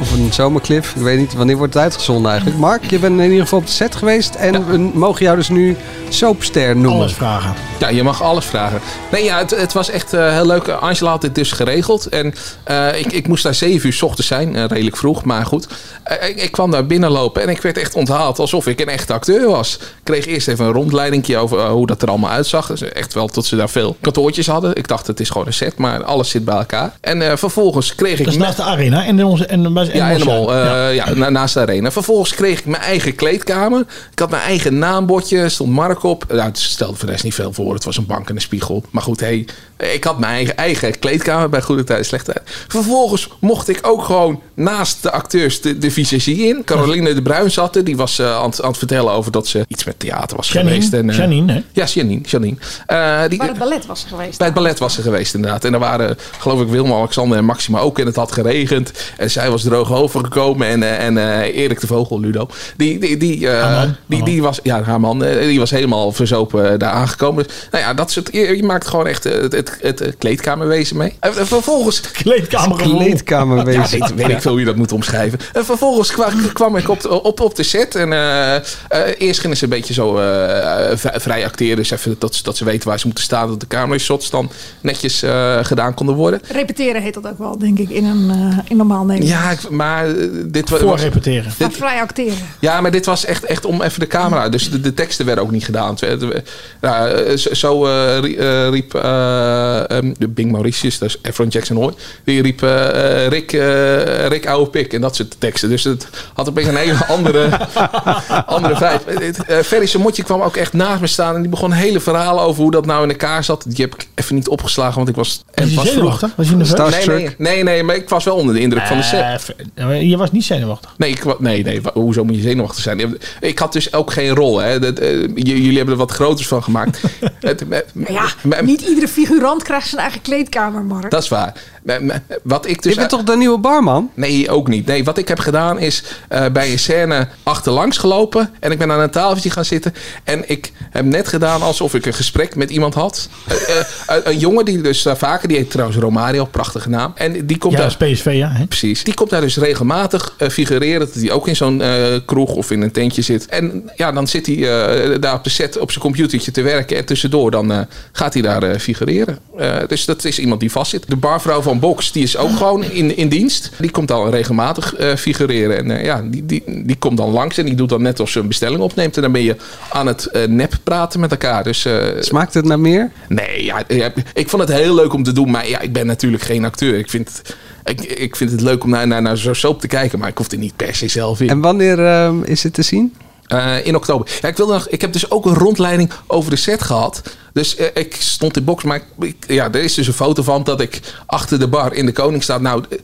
Of een zomerclip. Ik weet niet wanneer wordt het uitgezonden eigenlijk. Mark, je bent in ieder geval op de set geweest. En we mogen jou dus nu soapster noemen.
Alles
vragen.
Ja, je mag alles vragen. Nee, ja, het, het was echt eh, heel leuk. Angela had dit dus geregeld. En eh, ik, ik moest daar 7 uur 's ochtends zijn. eh, redelijk vroeg, maar goed. Eh, ik, ik kwam daar binnenlopen en ik werd echt onthaald alsof ik een echte acteur was. Ik kreeg eerst even een rondleiding over eh, hoe dat er allemaal uitzag. Dus echt wel tot ze daar veel kantoortjes hadden. Ik dacht, het is gewoon een set, maar alles zit bij elkaar. En eh, vervolgens kreeg ik...
Dat is naast de arena en, onze, en, en,
Ja,
en-
helemaal.
ja.
eh, ja. na- naast de arena. Vervolgens kreeg ik mijn eigen kleedkamer. Ik had mijn eigen naambordje. Stond Mark op. Nou, het stelde voor de rest niet veel voor. Het was een bank en een spiegel. Maar goed, hey, ik had mijn eigen, eigen kleedkamer bij Goede Tijd en Slechte Tijd. Vervolgens mocht ik ook gewoon naast de acteurs de, de visagie in. Caroline de Bruin zat er. Die was eh, aan, het- aan het vertellen over dat ze iets met theater was
Janine,
geweest. En, eh,
Janine, hè?
[laughs] Ja, Janine. Janine. Eh, die,
Waar het ballet was geweest.
bij het ballet was ze geweest, inderdaad. En daar waren, geloof ik, Wilma, Alexander en Maxima ook. En het had geregend. En zij was droog overgekomen. En, eh, en eh, Erik de Vogel, Ludo. Die, die, die, eh, die, die was, ja, haar man. eh, Die was helemaal verzopen eh, daar aangekomen. Dus, nou ja, dat soort, je, je maakt gewoon echt eh, het, het, het, eh, kleedkamerwezen mee. En vervolgens...
Kleedkamergevoel.
Ja, dit weet ik veel hoe je dat moet omschrijven. En vervolgens kwa- kwam ik op de, op, op de set. En eh, eh, eerst gingen ze een beetje zo eh, eh, v- vrij acteren. Dus even dat, ze- dat ze weten waar ze moeten staan. Dat de camera-shots dan netjes eh, gedaan konden worden.
Repeteren heet dat ook wel, denk ik, in een eh, in normaal Nederland.
Ja, ik- maar eh, dit wa- was...
Voorrepeteren.
Maar vrij acteren.
Ja, maar dit was echt, echt om even de camera. Dus de, de teksten werden ook niet gedaan. Het werd- eh, nou, eh, zo zo, eh, rie- eh, riep eh, ehm, de Bing Mauritius, dat is Efron Jackson Hoy. Die riep eh, eh, Rick, eh Rick ouwe pik en dat soort teksten. Dus het had opeens een hele [laughs] andere, andere vibe. Eh, eh, Ferry Samotje kwam ook echt naast me staan. En die begon hele verhalen over hoe dat nou in elkaar zat. Die heb ik even niet opgeslagen, want ik was... en
je zenuwachtig? Was je nerveus?
nee, nee, nee, nee, maar ik was wel onder de indruk van de set.
Eh, ver- je was niet zenuwachtig.
Nee, ik, wa- nee, nee, wa- hoezo moet je zenuwachtig zijn? Ik had dus ook geen rol. Hè. Dat, eh, j- jullie hebben er wat groters van
[laughs]
gemaakt. Het- me- me-
Ja,
me-
niet iedere figurant krijgt zijn eigen kleedkamer, Mark.
dat is waar. Me- me- Wat ik dus
Je bent toch de nieuwe barman?
Nee, ook niet. Nee, wat ik heb gedaan is eh, bij een scène achterlangs gelopen. En ik ben aan een tafeltje gaan zitten. En ik heb net gedaan alsof ik een gesprek met iemand had. Eh, eh, een- een jongen die dus daar vaker, die heet trouwens Romario, prachtige naam. En die komt
Ja,
daar
als PSV, ja. Hè?
Precies. Die komt daar dus regelmatig eh, figureren. Dat hij ook in zo'n eh, kroeg of in een tentje zit. En ja, dan zit hij eh, daar op de set op zijn computertje te werken. En tussendoor dan eh, gaat hij daar eh, figureren. Eh, dus dat is iemand die vastzit. De barvrouw van Box, die is ook gewoon in, in dienst. Die komt dan regelmatig eh, figureren. En eh, ja, die, die, die komt dan langs en die doet dan net alsof ze een bestelling opneemt. En dan ben je aan het eh, nep praten met elkaar. Dus eh,
Smaakt het naar meer?
Nee, ja, ja, ik vond het heel leuk om te doen. Maar ja, ik ben natuurlijk geen acteur. Ik vind, het- ik, ik vind het leuk om naar, naar, naar zo'n soap te kijken. Maar ik hoef er niet per se zelf in.
En wanneer ehm, is het te zien?
Eh, in oktober. Ja, ik, wilde nog, ik heb dus ook een rondleiding over de set gehad. Dus eh, ik stond in box. Maar ik- ik- ja, er is dus een foto van dat ik achter de bar in de Koning sta. Nou, eh,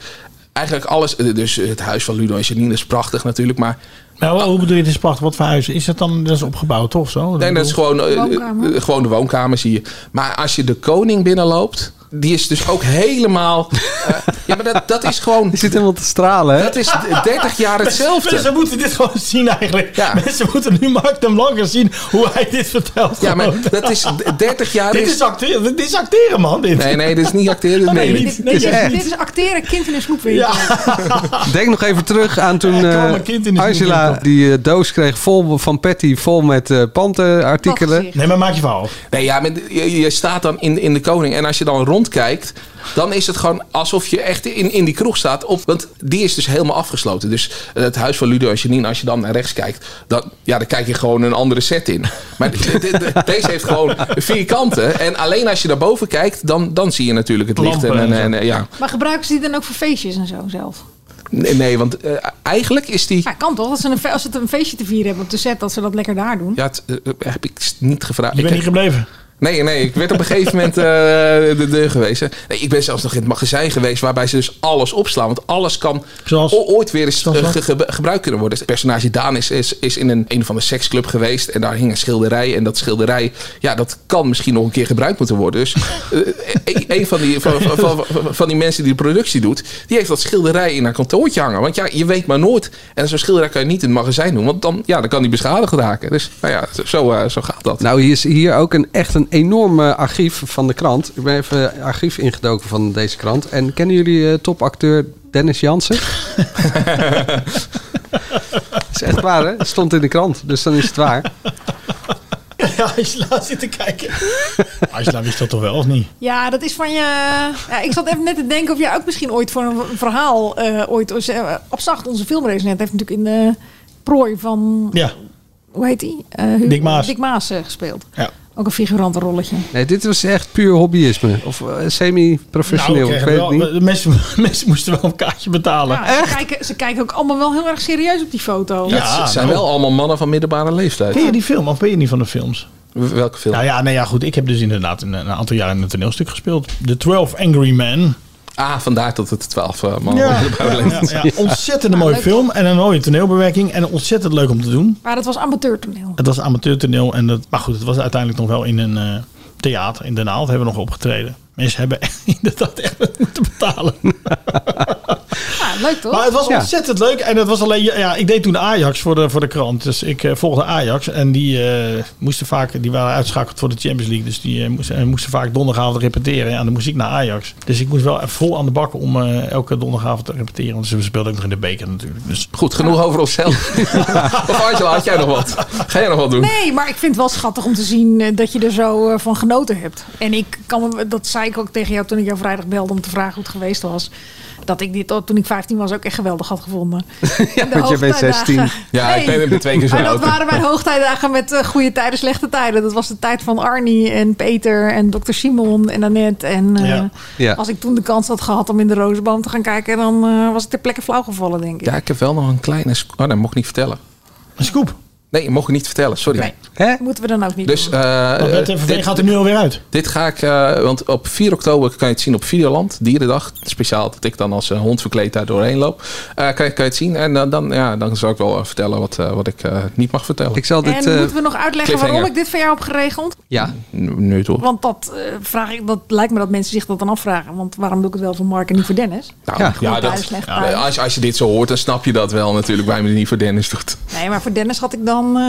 eigenlijk alles. eh, Dus het huis van Ludo en Janine is prachtig natuurlijk. Maar
Nou, hoe bedoel je, dit is prachtig, wat voor huis? Is dat dan dat is opgebouwd toch of zo?
Nee, dat is gewoon, eh,
Woonkamer.
eh, gewoon de woonkamer, zie je. Maar als je de koning binnenloopt, die is dus ook helemaal. eh, ja, maar dat, dat is gewoon.
Je zit helemaal te stralen, hè?
Dat is 30 jaar
Mensen
hetzelfde.
moeten dit gewoon zien eigenlijk.
Ja.
Mensen moeten nu Mark de Blanker zien hoe hij dit vertelt.
Ja, maar
Gewoon.
dat is 30 jaar.
dit, is acteren, dit is acteren, man. Dit.
Nee, nee, dit is niet acteren. Dit
Oh, nee,
meen ik.
niet. Nee,
dit,
juist
is,
niet.
dit is acteren, kind in een snoepwinkel.
Ja.
Denk nog even terug aan toen
Er kwam
eh,
een kind in de
Angela
snoepwinkel.
die eh, doos kreeg vol van Patty, vol met eh pantenartikelen.
Wacht,
Nee, maar maak je verhaal.
Nee, ja, maar je, je staat dan in, in de koning. En als je dan rondkijkt, dan is het gewoon alsof je echt in, in die kroeg staat. Op, want die is dus helemaal afgesloten. Dus het huis van Ludo en Janine, als je dan naar rechts kijkt, dan, ja, dan kijk je gewoon een andere set in. Maar de- de- de- deze heeft gewoon vier kanten. En alleen als je daarboven kijkt, dan, dan zie je natuurlijk het licht. En,
Lampen en
en,
zo.
en- ja.
Maar gebruiken ze die dan ook voor feestjes en zo zelf?
nee, nee, want eh, eigenlijk is die.
Ja, kan toch? Dat ze een, fe- als ze een feestje te vieren hebben op de set, dat ze dat lekker daar doen.
Ja, het, eh, heb ik niet gevraagd.
Je
Ik- [laughs]
bent niet gebleven.
Nee, nee, ik werd op een gegeven moment eh, de deur gewezen. Nee, ik ben zelfs nog in het magazijn geweest waarbij ze dus alles opslaan. Want alles kan o- ooit weer eens eh, ge- ge- gebruikt kunnen worden. Het personage Daan is, is, is in een, een van de seksclub geweest en daar hing een schilderij. En dat schilderij, ja, dat kan misschien nog een keer gebruikt moeten worden. Dus eh, een- een van die, van, van, van, van- van die mensen die de productie doet, die heeft dat schilderij in haar kantoortje hangen. Want ja, je weet maar nooit. En zo'n schilderij kan je niet in het magazijn doen, want dan, ja, dan kan die beschadigd raken. Dus nou ja, zo- zo, eh, zo gaat dat.
Nou, hier is hier ook een, echt een enorm eh, archief van de krant. Ik ben even eh, archief ingedoken van deze krant. En kennen jullie eh, topacteur Dennis
[laughs]
Jansen? dat is echt waar, hè? Het stond in de krant, dus dan is het waar.
Ja, Isla zit te [laughs] kijken. Isla wist dat toch wel, of niet?
Ja, dat is van je. Ja, ik zat even net te denken of jij ook misschien ooit voor een verhaal eh, ooit eh, op zacht onze filmrace net heeft natuurlijk in de prooi van
Ja. Nou,
hoe heet die? Eh, Hugo-
Dick Maas.
Dick Maas eh, gespeeld.
Ja.
Ook een figurante rolletje.
Nee, dit was echt puur hobbyisme. Of eh, semi-professioneel,
Nou, we
ik
kregen
weet het
wel-
niet.
De mensen, [laughs] mensen moesten wel een kaartje betalen.
Ja, ze, kijken, ze kijken ook allemaal wel heel erg serieus op die foto.
Ja,
het zijn
nou.
wel allemaal mannen van middelbare leeftijd.
Ken je die film of ben je niet van de films?
Welke film?
Nou ja, nee, ja goed. Ik heb dus inderdaad een, een aantal jaar in een toneelstuk gespeeld. The 12 Angry Men.
Ah, vandaar dat het 12 eh, mannen
Ja,
van middelbare
ja,
leeftijd
ja,
zijn.
ja. Ontzettend een mooie
leuk.
film en een mooie toneelbewerking. En ontzettend leuk om te doen.
Maar dat was amateurtoneel.
Het was amateurtoneel. En dat, maar goed, het was uiteindelijk nog wel in een eh, theater in Den Haag. Hebben we nog opgetreden. Mensen hebben [laughs] inderdaad echt wat moeten betalen.
Ja, leuk toch?
Maar het was
Ja.
ontzettend leuk. En het was alleen, ja, ik deed toen Ajax voor de, voor de krant. Dus ik eh, volgde Ajax. En die eh, moesten vaak, die waren uitschakeld voor de Champions League. Dus die eh, moesten, en moesten vaak donderdagavond repeteren. Ja, dan moest ik naar Ajax. Dus ik moest wel even vol aan de bak om eh, elke donderdagavond te repeteren. Want ze speelden ook nog in de beker natuurlijk. Dus
Goed, genoeg over onszelf.
[laughs]
of Angela, had jij nog wat? Ga jij nog wat doen?
Nee, maar ik vind het wel schattig om te zien eh, dat je er zo eh, van genoten hebt. En ik kan me, dat zei ik ook tegen jou toen ik jou vrijdag belde om te vragen hoe het geweest was. Dat ik dit al- toen ik 15 was ook echt geweldig had gevonden. En de
want je bent
hoogtijdagen-
16.
Ja, ik ben- ik ben twee keer zo
Maar Ah, dat
oud.
waren mijn hoogtijdagen met eh, goede tijden, slechte tijden. Dat was de tijd van Arnie en Peter en dokter Simon en Annette. En eh,
Ja. Ja.
als ik toen de kans had gehad om in de rozenboom te gaan kijken, dan eh, was ik ter plekke flauw gevallen, denk ik.
Ja, ik heb wel nog een kleine... sc- Oh, dat mocht ik niet vertellen.
Een scoop?
Nee, dat mocht ik niet vertellen, sorry.
Moeten we dan ook niet
Dus, eh,
Want het FNV
dit-
gaat er nu alweer uit.
Dit ga ik, eh, want op 4 oktober kan je het zien op Videoland, Dierendag. Speciaal dat ik dan als een hond verkleed daar doorheen loop. Eh, kan, je- kan je het zien en dan, dan, ja, dan zal ik wel eh, vertellen wat, eh, wat ik eh, niet mag vertellen. Ik
zal eh,
en moeten we nog uitleggen waarom ik dit voor jou heb geregeld?
Ja.
Nu toch?
Want dat, eh, vraag ik, dat lijkt me dat mensen zich dat dan afvragen. Want waarom doe ik het wel voor Mark en niet voor Dennis?
Nou,
ja,
ja,
goed
dat,
thuis, slecht
ja,
thuis.
als, als je dit zo hoort, dan snap je dat wel natuurlijk. Wij me niet voor Dennis doet.
Nee, maar voor Dennis had ik dan... eh,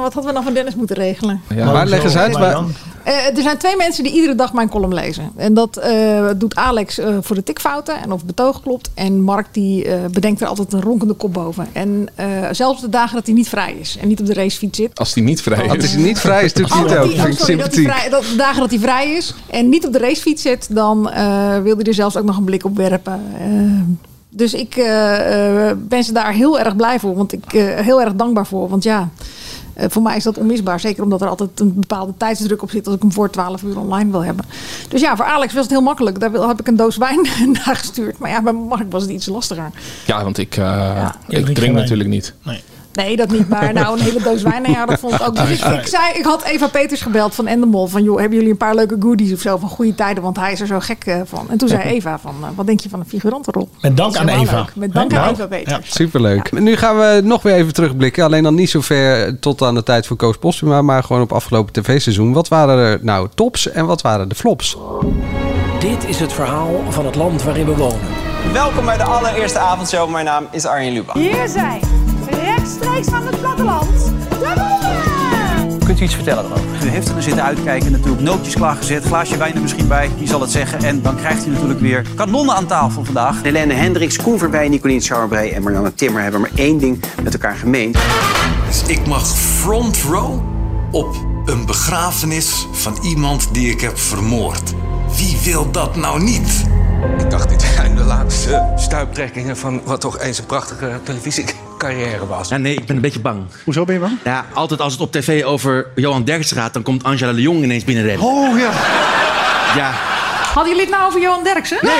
wat hadden we dan voor Dennis moeten regelen?
Ja. Maar leg eens uit, waar-
Eh, er zijn twee mensen die iedere dag mijn column lezen. En dat eh, doet Alex eh, voor de tikfouten en of het betoog klopt. En Mark die eh, bedenkt er altijd een ronkende kop boven. En eh, zelfs de dagen dat hij niet vrij is en niet op de racefiets zit.
Als die niet vrij is.
Dat is niet vrij, is natuurlijk niet ook.
Die- oh,
Vind ik
sorry, dat, hij
sympathiek.
vrij, dat de dagen dat hij vrij is en niet op de racefiets zit, dan eh, wil hij er zelfs ook nog een blik op werpen. Eh, dus ik eh, eh, ben ze daar heel erg blij voor, want ik eh, heel erg dankbaar voor. Want ja, eh, voor mij is dat onmisbaar. Zeker omdat er altijd een bepaalde tijdsdruk op zit als ik hem voor 12 uur online wil hebben. Dus ja, voor Alex was het heel makkelijk. Daar wil- heb ik een doos wijn [laughs] naar gestuurd. Maar ja, bij Mark was het iets lastiger.
Ja, want ik, eh,
drinkt
ik
geen
drink
wijn.
natuurlijk niet.
Nee, dat niet. Maar nou, een hele doos wijn. Nou ja, dat vond ik ook. Dus ik, ik zei, ik had Eva Peters gebeld van Endemol. Van joh, hebben jullie een paar leuke goodies of zo van goede tijden? Want hij is er zo gek eh, van. En toen
[laughs]
zei Eva van, eh, wat denk je van een figurantenrol?
Met dank
Dat
aan
is helemaal
Eva.
leuk. Met dank
Hè?
aan
Nou,
Eva Peters.
Superleuk. Nu gaan we nog weer even terugblikken. Alleen dan niet zo ver tot aan de tijd van Koos Postuma, maar gewoon op afgelopen tv-seizoen. Wat waren er nou tops en wat waren de flops?
Dit is het verhaal van het land waarin we wonen.
Welkom bij de allereerste avondshow. Mijn naam is Arjen Lubach.
Hier zijn, rechtstreeks van het platteland, de boeren!
Kunt u iets vertellen erover? U heeft er dus zitten uitkijken, natuurlijk nootjes klaargezet, glaasje wijn er misschien bij, die zal het zeggen. En dan krijgt u natuurlijk weer kanonnen aan tafel vandaag.
Helene Hendricks, Koen Verwij, Nicolien Sauerbrei en Marianne Timmer hebben maar één ding met elkaar gemeen.
Dus ik mag front row op een begrafenis van iemand die ik heb vermoord. Wie wil dat nou niet?
Ik dacht, dit zijn de laatste stuiptrekkingen van wat toch eens een prachtige televisiecarrière was.
Ja, nee, ik ben een beetje bang.
Hoezo ben je bang?
Ja, altijd als het op tv over Johan Derks gaat, dan komt Angela de Jong ineens binnenrennen.
Oh ja.
Ja.
Hadden jullie het nou over Johan Derksen? Nee.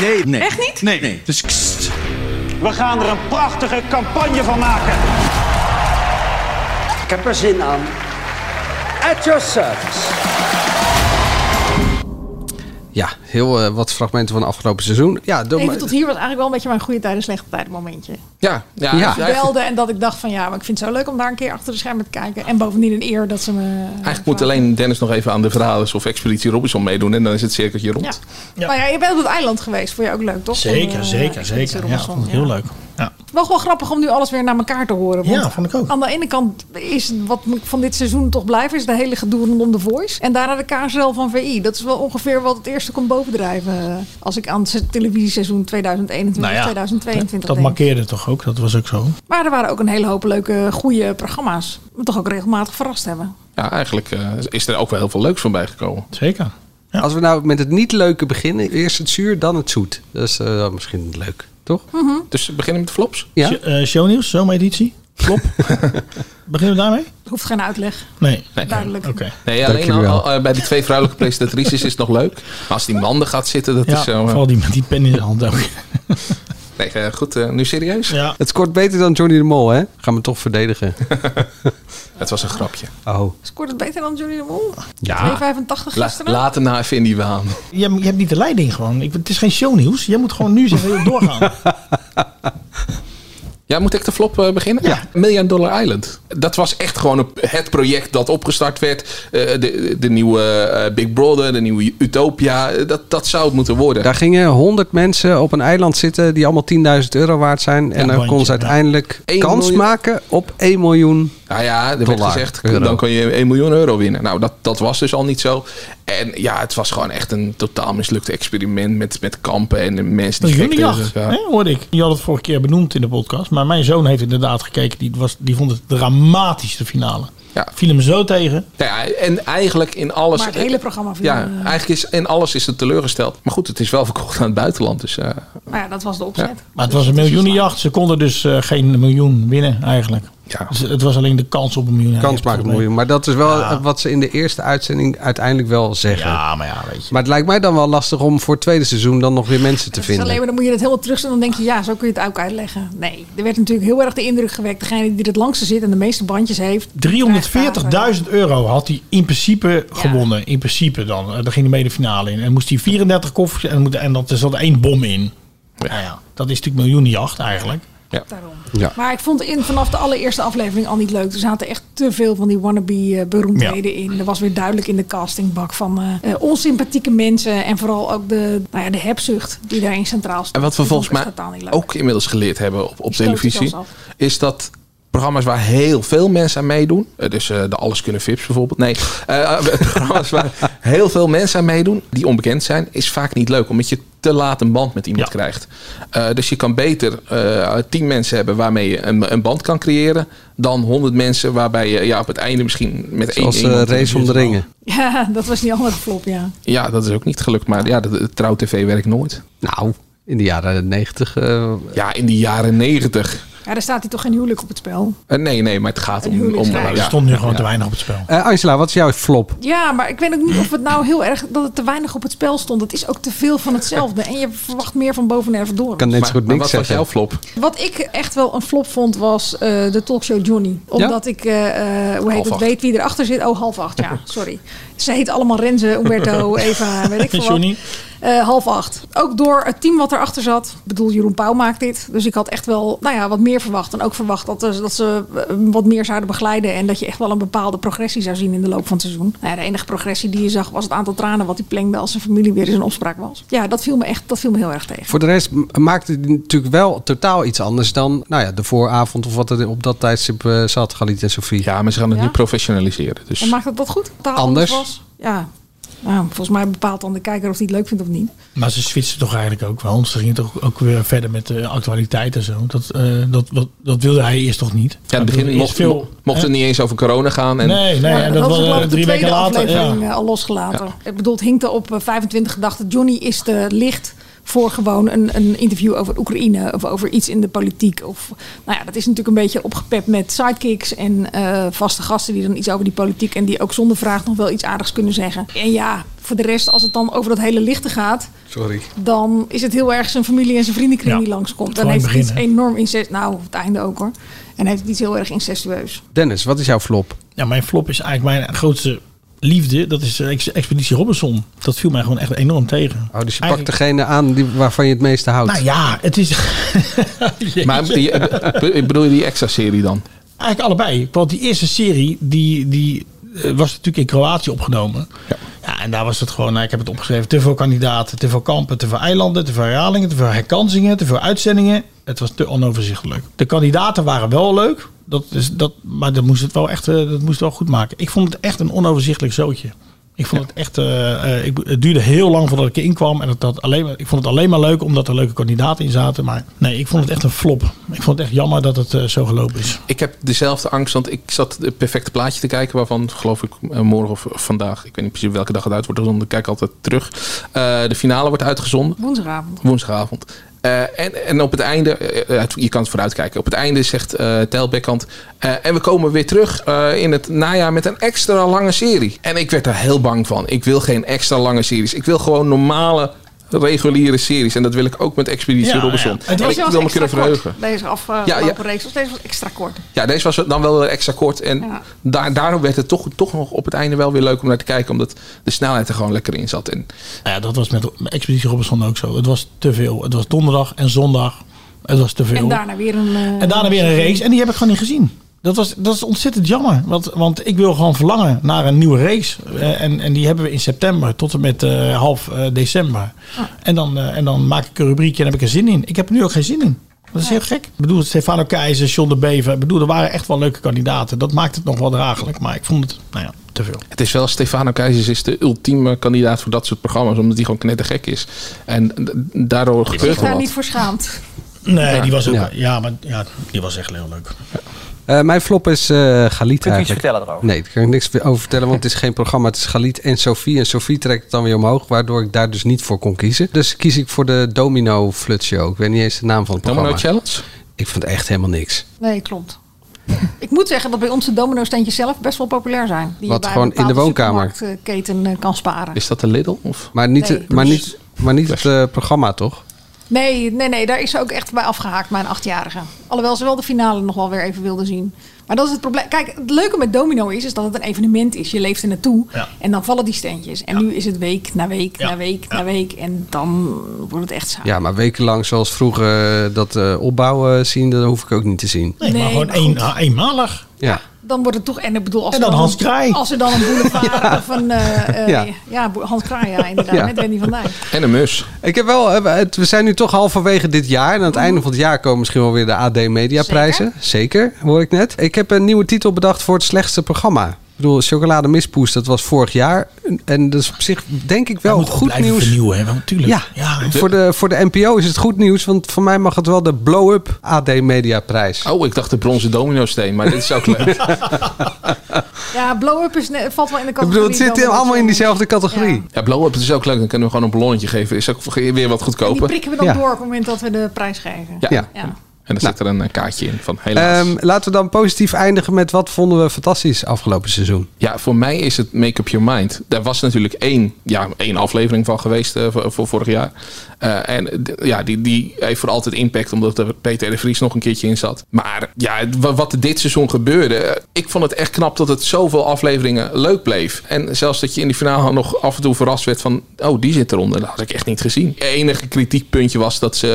Nee, nee.
Echt niet?
Nee. nee. Dus kst.
We gaan er een prachtige campagne van maken. Ik heb er zin aan. At your service.
Ja, heel eh, wat fragmenten van afgelopen seizoen. Ja, doe
Even
maar-
tot hier was eigenlijk wel een beetje mijn goede tijden, slechte tijden momentje.
Ja, ja,
Ja.
Ze belden en dat ik dacht van ja, maar ik vind het zo leuk om daar een keer achter de schermen te kijken. En bovendien een eer dat ze me...
Eigenlijk moet alleen Dennis nog even aan de verhalen of Expeditie Robinson meedoen. En dan is het cirkeltje
Ja.
rond.
Maar ja, je bent op het eiland geweest. Vond je ook leuk, toch? Van,
Zeker,
eh,
zeker,
Expeditie
zeker. Ja,
Robinson,
vond ik heel leuk. Ja.
Wel gewoon grappig om nu alles weer naar elkaar te horen. Want
Ja, vond ik ook.
Aan de ene kant is wat moet ik van dit seizoen toch blijven, is de hele gedoe rondom The Voice. En daarna de KSL van VI. Dat is wel ongeveer wat het eerste komt bovendrijven. eh, Als ik aan het se- televisieseizoen 2021, 2022
Nou dat
denk.
markeerde toch ook, dat was ook zo.
Maar er waren ook een hele hoop leuke, goede programma's. Me toch ook regelmatig verrast hebben.
Ja, eigenlijk eh, is er ook wel heel veel leuks van bijgekomen.
Zeker.
Als we nou met het niet leuke beginnen, eerst het zuur, dan het zoet. Dat is eh, misschien leuk, toch?
Dus we beginnen met de flops.
Ja.
Sh- eh, shownieuws, zomereditie. Klop. Beginnen we daarmee?
Hoeft geen uitleg.
Nee.
Duidelijk.
Oké.
Nee,
Dank
alleen
jullie
al,
wel.
eh, bij die twee vrouwelijke presentatrices is het nog leuk. Maar als die manden gaat zitten, dat
ja,
is zo... eh,
vooral die met die pen in de hand ook.
nee, eh, goed, eh, nu serieus?
Het scoort beter dan Johnny de Mol, hè? Gaan we toch verdedigen.
Het was een grapje.
[laughs] Oh.
Scoort het beter dan Johnny de Mol?
Ja.
2,85
La-
gisteren?
later na even in die waan.
Je, hebt- je hebt niet de leiding gewoon. Ik, het is geen shownieuws. Jij moet gewoon nu zeggen, joh, doorgaan.
Ja, moet ik de flop eh, beginnen? Ja. Million Dollar Island. Dat was echt gewoon een- het project dat opgestart werd. Eh, de, de nieuwe eh, Big Brother, de nieuwe Utopia. eh, Dat, dat zou het moeten worden.
Daar gingen 100 mensen op een eiland zitten die allemaal 10.000 euro waard zijn. En dan konden ze uiteindelijk
Eén
kans
miljoen.
maken op 1 miljoen.
Nou ja, er werd
Dollar,
gezegd,
euro.
dan kon je 1 miljoen euro winnen. Nou, dat, dat was dus al niet zo. En ja, het was gewoon echt een totaal mislukt experiment met, met kampen en de mensen
Dat
die
is
gek
jullie
tegen
jacht,
elkaar.
hè, hoorde ik. Je had het vorige keer benoemd in de podcast. Maar mijn zoon heeft inderdaad gekeken. Die, was, die vond het dramatisch, de finale.
Ja.
Viel hem zo tegen.
Nou ja, en eigenlijk in alles...
Maar het hele programma viel,
Ja,
eh,
eigenlijk is in alles is het teleurgesteld. Maar goed, het is wel verkocht aan het buitenland. Dus eh,
Maar Nou ja, dat was de opzet.
Maar het was een miljoenenjacht. Ze konden dus eh, geen miljoen winnen eigenlijk. Dus het was alleen de kans op een miljoen. Ja, je
Kans
hebt
maken op
het
een miljoen.
probleem.
Maar dat is wel eh, wat ze in de eerste uitzending uiteindelijk wel zeggen.
Ja, maar ja, weet je.
Maar het lijkt mij dan wel lastig om voor het tweede seizoen dan nog weer mensen te
Dus alleen
vinden.
maar dan moet je het helemaal terugzien. Dan denk je, ja, zo kun je het ook uitleggen. Nee, er werd natuurlijk heel erg de indruk gewekt. Degene die het langste zit en de meeste bandjes heeft.
340.000 euro had hij in principe gewonnen. In principe dan. Eh, Daar ging hij mee de finale in. En moest hij 34 koffers en, moet- en dat, er zat één bom in. Nou ja, dat is natuurlijk miljoenenjacht eigenlijk.
Ja.
Daarom.
Ja.
Maar ik vond in, vanaf de allereerste aflevering al niet leuk. Er zaten echt te veel van die wannabe eh, beroemdheden in. Er was weer duidelijk in de castingbak van eh, eh, onsympathieke mensen. En vooral ook de, nou ja, de hebzucht die daarin centraal stond.
En wat we
Die vond
volgens
ik echt
mij
totaal niet leuk.
ook inmiddels geleerd hebben op, op
Stoot het
televisie,
zelfs af.
is dat programma's waar heel veel mensen aan meedoen, eh, dus eh, de Alles Kunnen Vips bijvoorbeeld, nee, eh, [laughs] programma's waar heel veel mensen aan meedoen, die onbekend zijn, is vaak niet leuk, omdat je te laat een band met iemand krijgt. Eh, dus je kan beter eh tien mensen hebben waarmee je een, een band kan creëren, dan honderd mensen waarbij je ja, op het einde misschien met
Zoals
één...
eh,
iemand-
Race om de Ringen.
[laughs] Ja, dat was die andere flop, ja.
Ja, dat is ook niet gelukt, maar ja, de, de trouw tv werkt nooit.
Nou, in de jaren eh, 90.
ja, in de jaren 90.
Ja, daar staat hij toch geen huwelijk op het spel.
Eh, nee, nee, maar het gaat om... om
Ja, er stond nu gewoon te weinig op het spel.
Eh, Angela, wat is jouw flop?
Ja, maar ik weet ook niet of het nou heel erg dat het te weinig op het spel stond. Het is ook te veel van hetzelfde. En je verwacht meer van boven en door.
Kan net zo
Maar-
goed
maar
niks
wat was
zeggen.
jouw flop?
Wat ik echt wel een flop vond was eh, de talkshow Johnny. Omdat ik, eh, eh, hoe
Half
heet het,
acht.
weet wie erachter zit. Oh, half acht, ja, sorry. Ze heet allemaal Renze,
[laughs]
Umberto, Eva,
[laughs]
weet ik veel wat.
Johnny?
Eh, half acht. Ook door het team wat erachter zat. Ik bedoel, Jeroen Pauw maakt dit. Dus ik had echt wel nou ja, wat meer verwacht. En ook verwacht dat, eh, dat ze eh, wat meer zouden begeleiden. En dat je echt wel een bepaalde progressie zou zien in de loop van het seizoen. Nou ja, de enige progressie die je zag was het aantal tranen wat hij plengde als zijn familie weer in zijn opspraak was. Ja, dat viel me echt dat viel me heel erg tegen.
Voor de rest m- maakte het natuurlijk wel totaal iets anders dan nou ja, de vooravond of wat er op dat tijdstip eh, zat, Galit en Sofie.
Ja, maar ze gaan het
Ja.
nu professionaliseren.
En
Dus.
maakt het dat goed? Taal
Anders.
was? Ja. Nou, volgens mij bepaalt dan de kijker of hij het leuk vindt of niet.
Maar ze switchten toch eigenlijk ook wel. Ze gingen toch ook weer verder met de actualiteit en zo. Dat, eh, dat, dat, dat wilde hij eerst toch niet.
Ja, in het begin mocht, mo- mocht het
hè?
niet eens over corona gaan. En,
Nee, nee.
Ja,
en
dat
dat
was
was
geloof
eh,
ik de
drie
tweede
weken later.
aflevering
Ja.
eh, al losgelaten. Ik bedoel, het hing er op eh, 25 gedachten. Johnny is te licht voor gewoon een, een interview over Oekraïne of over iets in de politiek. Of, nou ja, dat is natuurlijk een beetje opgepept met sidekicks en eh, vaste gasten die dan iets over die politiek en die ook zonder vraag nog wel iets aardigs kunnen zeggen. En ja, voor de rest, als het dan over dat hele lichte gaat,
Sorry.
dan is het heel erg zijn familie en zijn vriendenkring
Ja,
die langskomt. Dan
vooral in
heeft
het
het iets
begin,
enorm incest. Nou, het einde ook hoor. En heeft iets heel erg incestueus.
Dennis, wat is jouw flop?
Ja, mijn flop is eigenlijk mijn grootste liefde. Dat is eh, Ex- Expeditie Robinson. Dat viel mij gewoon echt enorm tegen.
Oh, dus je pakt degene aan die, waarvan je het meeste houdt.
Nou ja, het is [laughs]
Maar die, [laughs] eh, be- bedoel je die extra serie dan?
eigenlijk allebei. Want die eerste serie, die, die eh, was natuurlijk in Kroatië opgenomen. Ja. en daar was het gewoon, nou, ik heb het opgeschreven, te veel kandidaten, te veel kampen, te veel eilanden, te veel herhalingen, te veel herkansingen, te veel uitzendingen. Het was te onoverzichtelijk. De kandidaten waren wel leuk, dat is, dat, maar dat moest het wel echt eh, dat moest het wel goed maken. Ik vond het echt een onoverzichtelijk zootje. Ik vond het echt, eh, eh, ik, het duurde heel lang voordat ik erin kwam. En het had alleen, maar- ik vond het alleen maar leuk omdat er leuke kandidaten in zaten. Maar nee, ik vond het echt een flop. Ik vond het echt jammer dat het eh, zo gelopen is.
Ik heb dezelfde angst, want ik zat het perfecte plaatje te kijken... waarvan, geloof ik, eh, morgen of vandaag... ik weet niet precies welke dag het uit wordt gezonden... ik kijk altijd terug. Eh, de finale wordt uitgezonden.
Woensdagavond.
Woensdagavond. Eh, en, en op het einde, eh, eh, je kan het vooruitkijken. Op het einde zegt eh Telbekkant. eh, en we komen weer terug eh, in het najaar met een extra lange serie. En ik werd daar heel bang van. Ik wil geen extra lange series. Ik wil gewoon normale, reguliere series. En dat wil ik ook met Expeditie
Ja,
Robinson.
Het
En
was
ik
zelfs
wil me
extra
kunnen verheugen.
kort. Deze afgelopen
Ja, ja.
reeks was deze was extra kort.
Ja, deze was dan wel weer extra kort. En
Ja.
daar, daarom werd het toch, toch nog op het einde wel weer leuk om naar te kijken. Omdat de snelheid er gewoon lekker in zat. En
Nou ja, dat was met Expeditie Robinson ook zo. Het was te veel. Het was donderdag en zondag. Het was te veel.
En daarna weer een... eh,
En daarna weer een race. En die heb ik gewoon niet gezien. Dat, was, dat is ontzettend jammer. Want, want ik wil gewoon verlangen naar een nieuwe race. Eh, en, en die hebben we in september tot en met eh, half eh, december. En, dan, eh, en dan maak ik een rubriekje en heb ik er zin in. Ik heb er nu ook geen zin in. Dat is heel gek. Ik bedoel, Stefano Keizer, John de Bever. Ik bedoel, er waren echt wel leuke kandidaten. Dat maakt het nog wel draaglijk. Maar ik vond het, nou ja, te veel.
het is wel, Stefano Keizers is de ultieme kandidaat voor dat soort programma's. Omdat hij gewoon knettergek is. En d- daardoor
zich
gebeurt er
daar
wat.
niet voor schaamt.
Nee, die was ook.
Ja.
Ja, maar ja, die was echt heel leuk.
Eh, mijn flop is eh Galit
iets
eigenlijk.
vertellen erover?
Nee, daar kan ik niks over vertellen, want het is geen programma. Het is Galit en Sophie. En Sophie trekt het dan weer omhoog, waardoor ik daar dus niet voor kon kiezen. Dus kies ik voor de Domino Flut Show. Ik weet niet eens de naam van het
Domino
programma. Challenge? Ik vond echt helemaal niks.
Nee, klopt. Ik moet zeggen dat bij ons de domino-steentjes zelf best wel populair zijn. Die
Wat,
bij
gewoon
een bepaalde
in de woonkamer?
supermarktketen eh, kan sparen.
Is dat de Lidl? Of?
Maar niet,
Nee.
maar niet, maar niet het eh, programma, toch?
Nee, nee, nee, daar is ze ook echt bij afgehaakt, mijn achtjarige. Alhoewel ze wel de finale nog wel weer even wilde zien. Maar dat is het probleem. Kijk, het leuke met domino is, is dat het een evenement is. Je leeft er naartoe
Ja.
en dan vallen die steentjes. En nu is het week na week na week na week. En dan wordt het echt saai.
Ja, maar wekenlang zoals vroeger eh, dat eh, opbouwen zien, dat hoef ik ook niet te zien.
Nee, maar gewoon één, ah, eenmalig.
Ja.
Dan wordt het toch... En ik bedoel, als
En
er
dan Hans Kraai.
Als er dan een
[laughs]
boulevard of een... eh, eh,
Ja.
ja. bo- Hans Kraai, ja, inderdaad.
Ja.
Met Wendy van Dijk.
En een mus.
Ik heb wel, eh, het- we zijn nu toch halverwege dit jaar. En aan het
Mhm.
einde van het jaar komen misschien wel weer de AD Media prijzen. Zeker, hoor ik net. Ik heb een nieuwe titel bedacht voor het slechtste programma. Ik bedoel, Chocolade Mispoes, dat was vorig jaar. En dat is op zich denk ik wel goed
Blijven
nieuws.
vernieuwen, hè? want Natuurlijk.
Ja, voor, de, voor de NPO is het goed nieuws. Want voor mij mag het wel de blow-up AD Media prijs.
Oh, ik dacht de bronzen domino steen. Maar dit is ook leuk.
Ja, blow-up is, net- valt wel in de
Ik
categorie.
bedoel, het zit
domino.
allemaal in diezelfde categorie.
Ja, blow-up is ook leuk. Dan kunnen we gewoon een ballonnetje geven. Is ook weer wat
Die
goedkoper.
prikken we dan
ja.
door op het moment dat we de prijs geven.
Ja.
Ja.
ja.
En dan zit er een eh, kaartje in van helaas.
Ehm, laten we dan positief eindigen met wat vonden we fantastisch afgelopen seizoen.
Ja, voor mij is het Make Up Your Mind. Daar was natuurlijk één, ja, één aflevering van geweest eh, voor, voor vorig jaar. Eh, en eh, d- ja, die, die heeft voor altijd impact, omdat er Peter R. de Vries nog een keertje in zat. Maar ja, het- wa- wat er dit seizoen gebeurde, eh, ik vond het echt knap dat het zoveel afleveringen leuk bleef. En zelfs dat je in die finale nog af en toe verrast werd van, oh, die zit eronder. Dat had ik echt niet gezien. Het enige kritiekpuntje was dat ze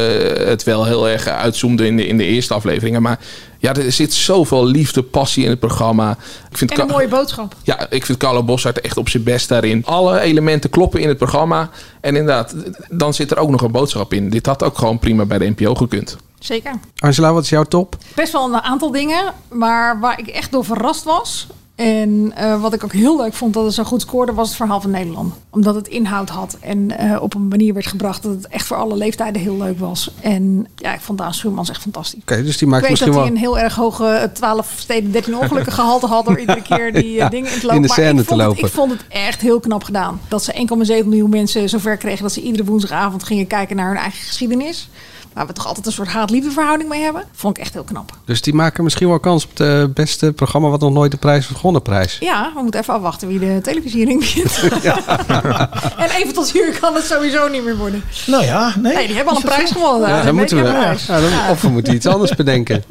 het wel heel erg uitzoomden in de, in de eerste afleveringen. Maar ja, er zit zoveel liefde, passie in het programma. Ik vind
En een
Ka-
mooie boodschap.
ja, ik vind Carlo Bossart echt op zijn best daarin. Alle elementen kloppen in het programma. En inderdaad, dan zit er ook nog een boodschap in. Dit had ook gewoon prima bij de NPO gekund.
Zeker.
Angela, wat is jouw top?
Best wel een aantal dingen, maar waar ik echt door verrast was. En eh, wat ik ook heel leuk vond dat het zo goed scoorde, was het verhaal van Nederland. Omdat het inhoud had en eh, op een manier werd gebracht dat het echt voor alle leeftijden heel leuk was. En ja, ik vond Daan Schuurmans echt fantastisch.
Oké, dus die maakt
ik weet
misschien
dat
wel...
hij een heel erg hoge eh, 12 steden 13 ongelukken gehalte had
[laughs]
door iedere keer die eh,
Ja,
dingen in te
in
lopen.
de
Maar
scène te
ik vond het-
lopen.
ik vond het echt heel knap gedaan. Dat ze 1,7 miljoen mensen zover kregen dat ze iedere woensdagavond gingen kijken naar hun eigen geschiedenis. Waar we toch altijd een soort haat-liefde verhouding mee hebben. Vond ik echt heel knap.
Dus die maken misschien wel kans op het eh, beste programma wat nog nooit de prijs heeft gewonnen prijs.
Ja, we moeten even afwachten wie de televisiering [laughs] wint. en even tot hier kan het sowieso niet meer worden.
Nou ja, nee.
Nee, die hebben al een prijs gewonnen.
Ja, dan
Een week
moeten we.
hebben een prijs.
Ja, dan-
Ja.
Of we moeten iets anders
[laughs]
bedenken.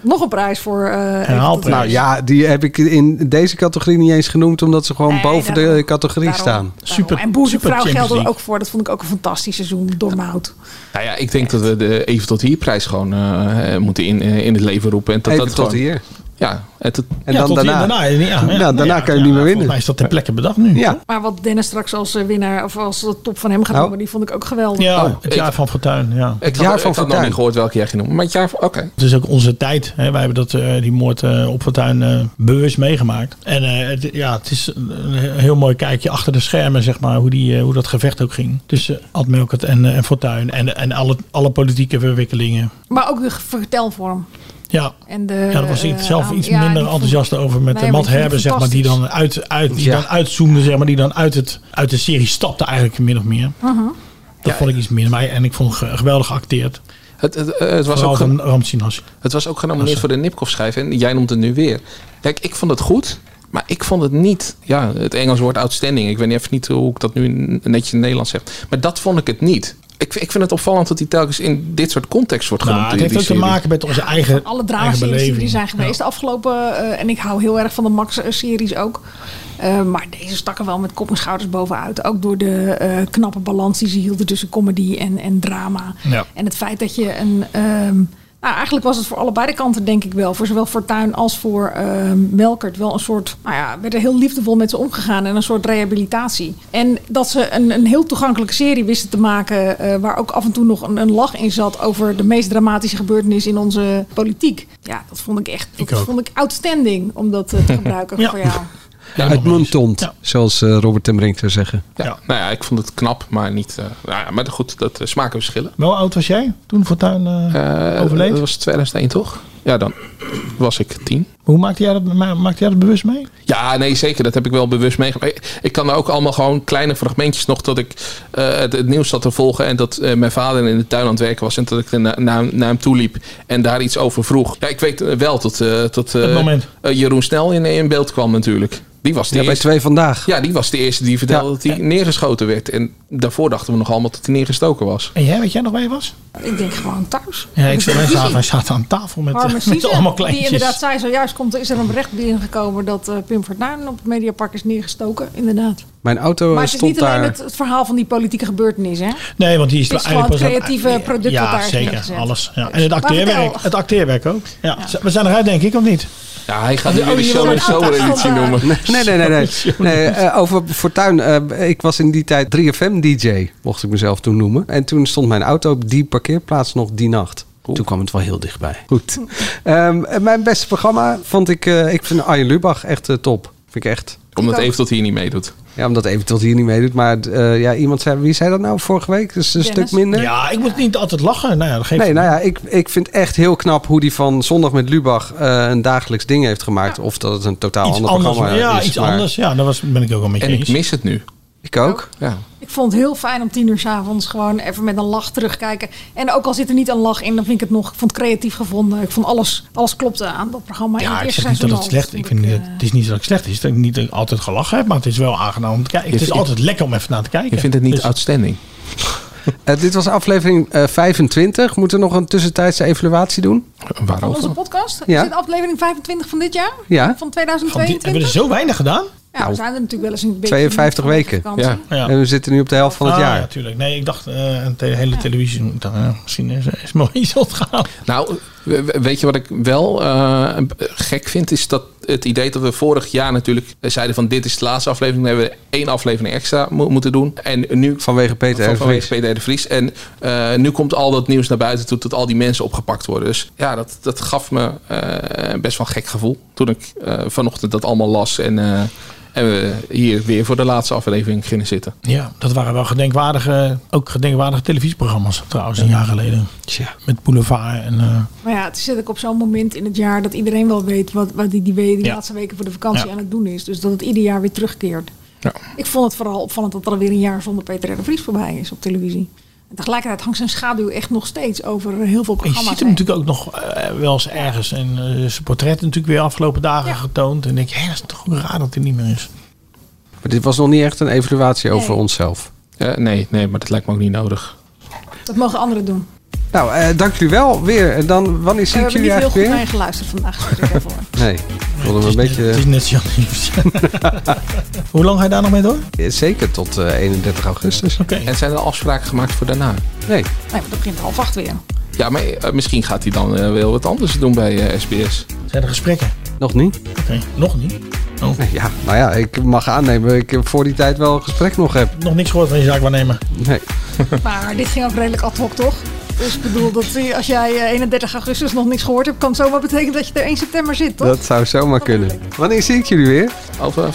Nog een prijs voor... eh, even tot hier.
Nou ja, die heb ik in deze categorie niet eens genoemd, omdat ze gewoon
Nee,
boven de
daarom.
categorie
Daarom.
staan.
Super,
en Boezemvrouw
Champions
geldt er
League.
ook voor. Dat vond ik ook een fantastisch seizoen door Mout.
Nou ja, ik denk dat we de even tot hier prijs gewoon eh, eh, moeten in, eh, in het leven roepen. En dat,
Even
dat
tot
gewoon-
hier.
Ja. En, tot-
En dan
tot hier
daarna.
daarna, ja, ja.
Nou, daarna
Ja,
kan je
ja,
niet meer
volgens
winnen.
mij is dat ter plekke bedacht nu.
Ja.
Maar wat Dennis straks als eh, winnaar of als de top van hem gaat
Oh.
noemen, die vond ik ook geweldig.
Ja,
Oh,
het
ik-
jaar van Fortuin. Ja.
Ik
jaar
had, ik
van
had nog
Fortuyn.
niet gehoord welke jij ging noemen. Maar het jaar van... Oké.
Het is ook onze tijd. Hè. Wij hebben dat, eh, die moord eh, op Fortuin eh, bewust meegemaakt. En eh, het, ja, het is een een heel mooi kijkje achter de schermen, zeg maar, hoe, die, eh, hoe dat gevecht ook ging. Tussen Ad Melkert en, eh, en Fortuin en, en alle, alle politieke verwikkelingen.
Maar ook de vertelvorm.
Ja.
En de,
Ja, daar was ik
eh,
zelf
aan-
iets
ja, die
minder
vond-
enthousiast over met
Nee, maar
eh,
die
Matt
vond ik
Herber, zeg maar, die dan, uit, uit, die
Ja.
dan uitzoomde, zeg maar, die dan uit, het, uit de serie stapte eigenlijk min of meer.
Mhm.
Dat vond ik iets minder. Maar, en ik vond het ge- geweldig geacteerd.
Het, het, eh, het, was
Vooral
ook ge-
van Ramsinas.
het was ook genomineerd
Als-
voor de Nipkoff-schijf. En jij noemt het nu weer. Kijk, ik vond het goed. Maar ik vond het niet... Ja, het Engels woord outstanding. Ik weet even niet hoe ik dat nu in- netjes in het Nederlands zeg. Maar dat vond ik het niet. Ik, vind- ik vind het opvallend dat hij telkens in dit soort context wordt genoemd.
Nou, het
die-
heeft ook te
die serie.
maken met onze eigen,
Alle
eigen
dramaseries die
beleving.
er zijn geweest de afgelopen... eh, en ik hou heel erg van de Max-series ook. Eh, maar deze stakken wel met kop en schouders bovenuit. Ook door de eh, knappe balans die ze hielden tussen comedy en, en drama.
Ja.
En het feit dat je een... ehm, nou, eigenlijk was het voor allebei de kanten denk ik wel. Voor zowel Fortuyn als voor ehm, Melkert wel een soort... Nou ja, werden heel liefdevol met ze omgegaan. En een soort rehabilitatie. En dat ze een, een heel toegankelijke serie wisten te maken... eh, waar ook af en toe nog een, een lach in zat... over de meest dramatische gebeurtenis in onze politiek. Ja, dat vond ik echt... Dat
Ik ook.
vond ik outstanding om dat
[laughs]
eh, te gebruiken
Ja.
voor jou.
Uitmuntend, zoals eh, Robert ten Brink zou zeggen.
Ja, Nou ja, ik vond het knap, maar niet... eh, nou ja, maar goed, dat eh, smaken verschillen.
Wel oud was jij toen Fortuin eh,
Eh,
overleed?
Dat was 2001, toch? Ja, dan was ik tien.
Hoe maakte jij, dat, ma- maakte jij dat bewust mee?
Ja, nee, zeker. Dat heb ik wel bewust meegemaakt. Ik- Ik kan er ook allemaal gewoon kleine fragmentjes nog dat ik eh, het, het nieuws zat te volgen. En dat eh, mijn vader in de tuin aan het werken was. En dat ik er na- naar, naar hem toe liep en daar iets over vroeg. Ja, ik weet eh, wel dat, eh, dat eh,
Het moment.
eh, Jeroen Snel in, in beeld kwam natuurlijk. Die was de
Ja, bij
eerste.
twee vandaag.
Ja, die was de eerste die vertelde dat hij neergeschoten werd. En daarvoor dachten we nog allemaal dat hij neergestoken was.
En jij, weet jij nog waar je was?
Ik denk gewoon thuis.
Ja, ik zat, wij, zaten, wij
Televisie.
zaten aan tafel [laughs] met,
Harmen
eh, met
Siezen,
allemaal
die
kleintjes.
inderdaad zei, zojuist komt, is er een bericht binnengekomen dat eh, Pim Fortuyn op het Mediapark is neergestoken. Inderdaad.
Mijn auto
maar
eh,
het is niet
stond
alleen
daar.
het, het verhaal van die politieke gebeurtenis, hè?
Nee, want die is,
Het is
eigenlijk
gewoon
pas aan-
het creatieve product
ja,
wat daar is
zeker,
neergezet.
alles. Ja. En het
Maar
acteerwerk,
vertel.
het acteerwerk ook. Ja. We zijn eruit, denk ik, of niet?
Ja, hij gaat nu
Oh,
weer de
je wil
zomer
een
zomereditie
auto's
noemen.
Nee, nee, nee. nee. nee eh, over Fortuin. eh, ik was in die tijd 3FM-DJ, mocht ik mezelf toen noemen. En toen stond mijn auto op die parkeerplaats nog die nacht. Toen kwam het wel heel dichtbij. Goed. Ehm, en mijn beste programma vond ik... eh, ik vind Arjen Lubach echt eh, top. Vind ik echt.
Omdat even tot hier niet meedoet.
Ja, omdat even tot hier niet meedoet. Maar eh, ja, iemand zei... Wie zei dat nou vorige week? Dus een
Dennis?
stuk minder.
Ja, ik moet niet altijd lachen. Nou ja, dat geeft
Nee, nou ja, ik, ik vind echt heel knap hoe die van Zondag met Lubach eh, een dagelijks ding heeft gemaakt. Of dat het een totaal
iets
ander
anders.
programma
Ja,
is.
iets
maar
anders. Ja, daar was, ben ik ook al met je
En ik
eens.
mis het nu.
Ik ook.
Ja.
Ik vond het heel fijn om tien uur 's avonds gewoon even met een lach terugkijken. En ook al zit er niet een lach in, dan vind ik het nog. Ik vond het creatief gevonden. Ik vond alles, alles klopte aan dat programma. In
Ja, ik
eerste eh,
zeg niet dat
seizoen
het
al.
slecht ik vind, eh, niet- Het is niet dat ik slecht is. Dat ik niet dat ik altijd gelachen heb. Maar het is wel aangenaam om te kijken. Het is
vindt-
altijd lekker om even naar te kijken.
Je vindt het niet
Dus-
outstanding.
Eh, dit was aflevering eh, 25. Moeten we nog een tussentijdse evaluatie doen?
Van
Waarover?
eh, onze podcast?
Ja.
Is dit aflevering 25 van dit jaar?
Ja.
Van
Van die- hebben we
2022?
er zo weinig gedaan?
Ja, we zijn er natuurlijk wel eens een beetje...
52
van de
Nou, weken.
vakantie.
Ja.
Ja.
En we zitten nu op de helft van het
Ah,
jaar.
Ja, tuurlijk. Nee, ik dacht eh, een te- hele televisie. Ik dacht, eh, misschien is, is me wel iets ontgaan.
Nou, we- we- weet je wat ik wel eh, gek vind? Is dat het idee dat we vorig jaar natuurlijk zeiden van dit is de laatste aflevering. Dan hebben we één aflevering extra mo- moeten doen. En nu
Vanwege Peter
van,
en
vanwege
Vries.
PD de Vries. En eh, nu komt al dat nieuws naar buiten toe dat al die mensen opgepakt worden. Dus ja, dat, dat gaf me eh, best wel een gek gevoel. Toen ik eh, vanochtend dat allemaal las en... eh, en we hier weer voor de laatste aflevering gingen zitten.
Ja, dat waren wel gedenkwaardige, ook gedenkwaardige televisieprogramma's trouwens, een jaar geleden.
Tja.
Met Boulevard en... eh,
Maar ja, het zit ook op zo'n moment in het jaar dat iedereen wel weet wat, wat die, die, we- die
Ja.
laatste weken voor de vakantie
Ja.
aan het doen is. Dus dat het ieder jaar weer terugkeert.
Ja.
Ik vond het vooral opvallend dat er alweer een jaar zonder Peter R. de Vries voorbij is op televisie. En tegelijkertijd hangt zijn schaduw echt nog steeds over heel veel
En je
programma's.
ziet
heen.
hem natuurlijk ook nog eh, wel eens ergens. En eh, zijn portret natuurlijk weer afgelopen dagen getoond. En dan denk je, hé, dat is toch raar dat hij niet meer is.
Maar dit was nog niet echt een evaluatie over
Nee.
onszelf.
Eh, nee, nee, maar dat lijkt me ook niet nodig.
Dat mogen anderen doen.
Nou, eh, dank jullie wel weer. En dan, wanneer
We
zie ik
hebben Eh, niet
jullie
heel
eigenlijk
goed naar je
weer?
geluisterd vandaag. sorry [laughs] daarvoor.
Nee, ik wilde hem een beetje...
Het is net Jan
[laughs]
Nieuws. Hoe lang ga je daar nog mee door?
Zeker tot eh, 31 augustus.
En zijn er afspraken gemaakt voor daarna?
Nee.
Nee, maar dat begint half acht weer.
Ja, maar eh, misschien gaat hij dan eh, wel wat anders doen bij eh, SBS.
Zijn er gesprekken?
Nog niet.
Oké, nog niet. Oh.
Ja, nou ja, ik mag aannemen dat ik voor die tijd wel een gesprek nog heb.
Nog niks gehoord van je zaakwaarnemer.
Nee.
Maar dit ging ook redelijk ad hoc, toch? Dus ik bedoel, dat, eh, als jij eh, 31 augustus nog niks gehoord hebt, kan het zomaar betekenen dat je er 1 september zit, toch?
Dat zou zomaar kunnen. Wanneer zie ik jullie weer?
Over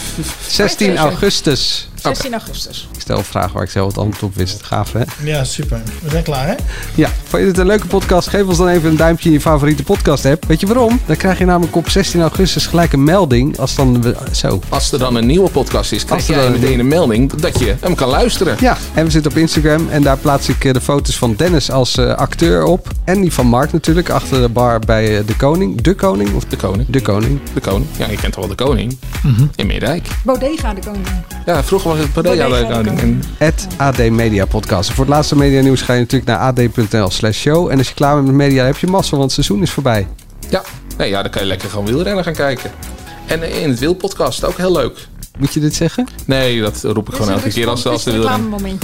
16 augustus.
16 augustus.
Ik stel een vraag waar ik zelf het antwoord op wist. Gaaf, hè?
Ja, super. We zijn klaar, hè?
Ja, vond je dit een leuke podcast? Geef ons dan even een duimpje in je favoriete podcast app. Weet je waarom? Dan krijg je namelijk op 16 augustus gelijk een melding. Als dan we, zo.
Als er dan een nieuwe podcast is, krijg
Als er
jij
dan een
meteen een melding dat je hem kan luisteren.
Ja, en we zitten op Instagram en daar plaats ik eh, de foto's van Dennis als eh, acteur op. En die van Mark natuurlijk, achter de bar bij eh, De Koning. De Koning? Of
De Koning.
De Koning.
De koning. Ja, je kent toch wel de koning?
Mhm.
In Meerdijk.
Bodega de koning.
Ja, vroeger was het Padella de koning. En
Het AD Media Podcast. En voor het laatste media nieuws ga je natuurlijk naar ad.nl slash show. En als je klaar bent met media, heb je massa, want het seizoen is voorbij.
Ja. Nee, ja, dan kan je lekker gewoon wielrennen gaan kijken. En eh, in het wielpodcast, ook heel leuk.
Moet je dit zeggen?
Nee, dat roep ik gewoon elke
Dus
keer als, als de wielrennen.
moment.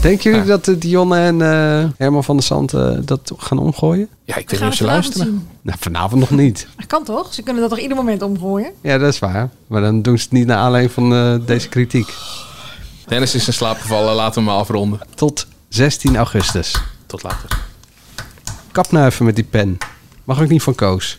Denken jullie dat eh, Dionne en eh, Herman van der Zand eh, dat gaan omgooien?
Ja, ik
We gaan het vanavond zien.
Nou, vanavond nog niet.
Dat kan toch? Ze kunnen dat toch ieder moment omgooien?
Ja, dat is waar. Maar dan doen ze het niet naar aanleiding van eh, deze kritiek.
Dennis is in slaap gevallen, laten we hem maar afronden.
Tot 16 augustus.
Tot later.
Kap nou even met die pen. Mag ook niet van Koos.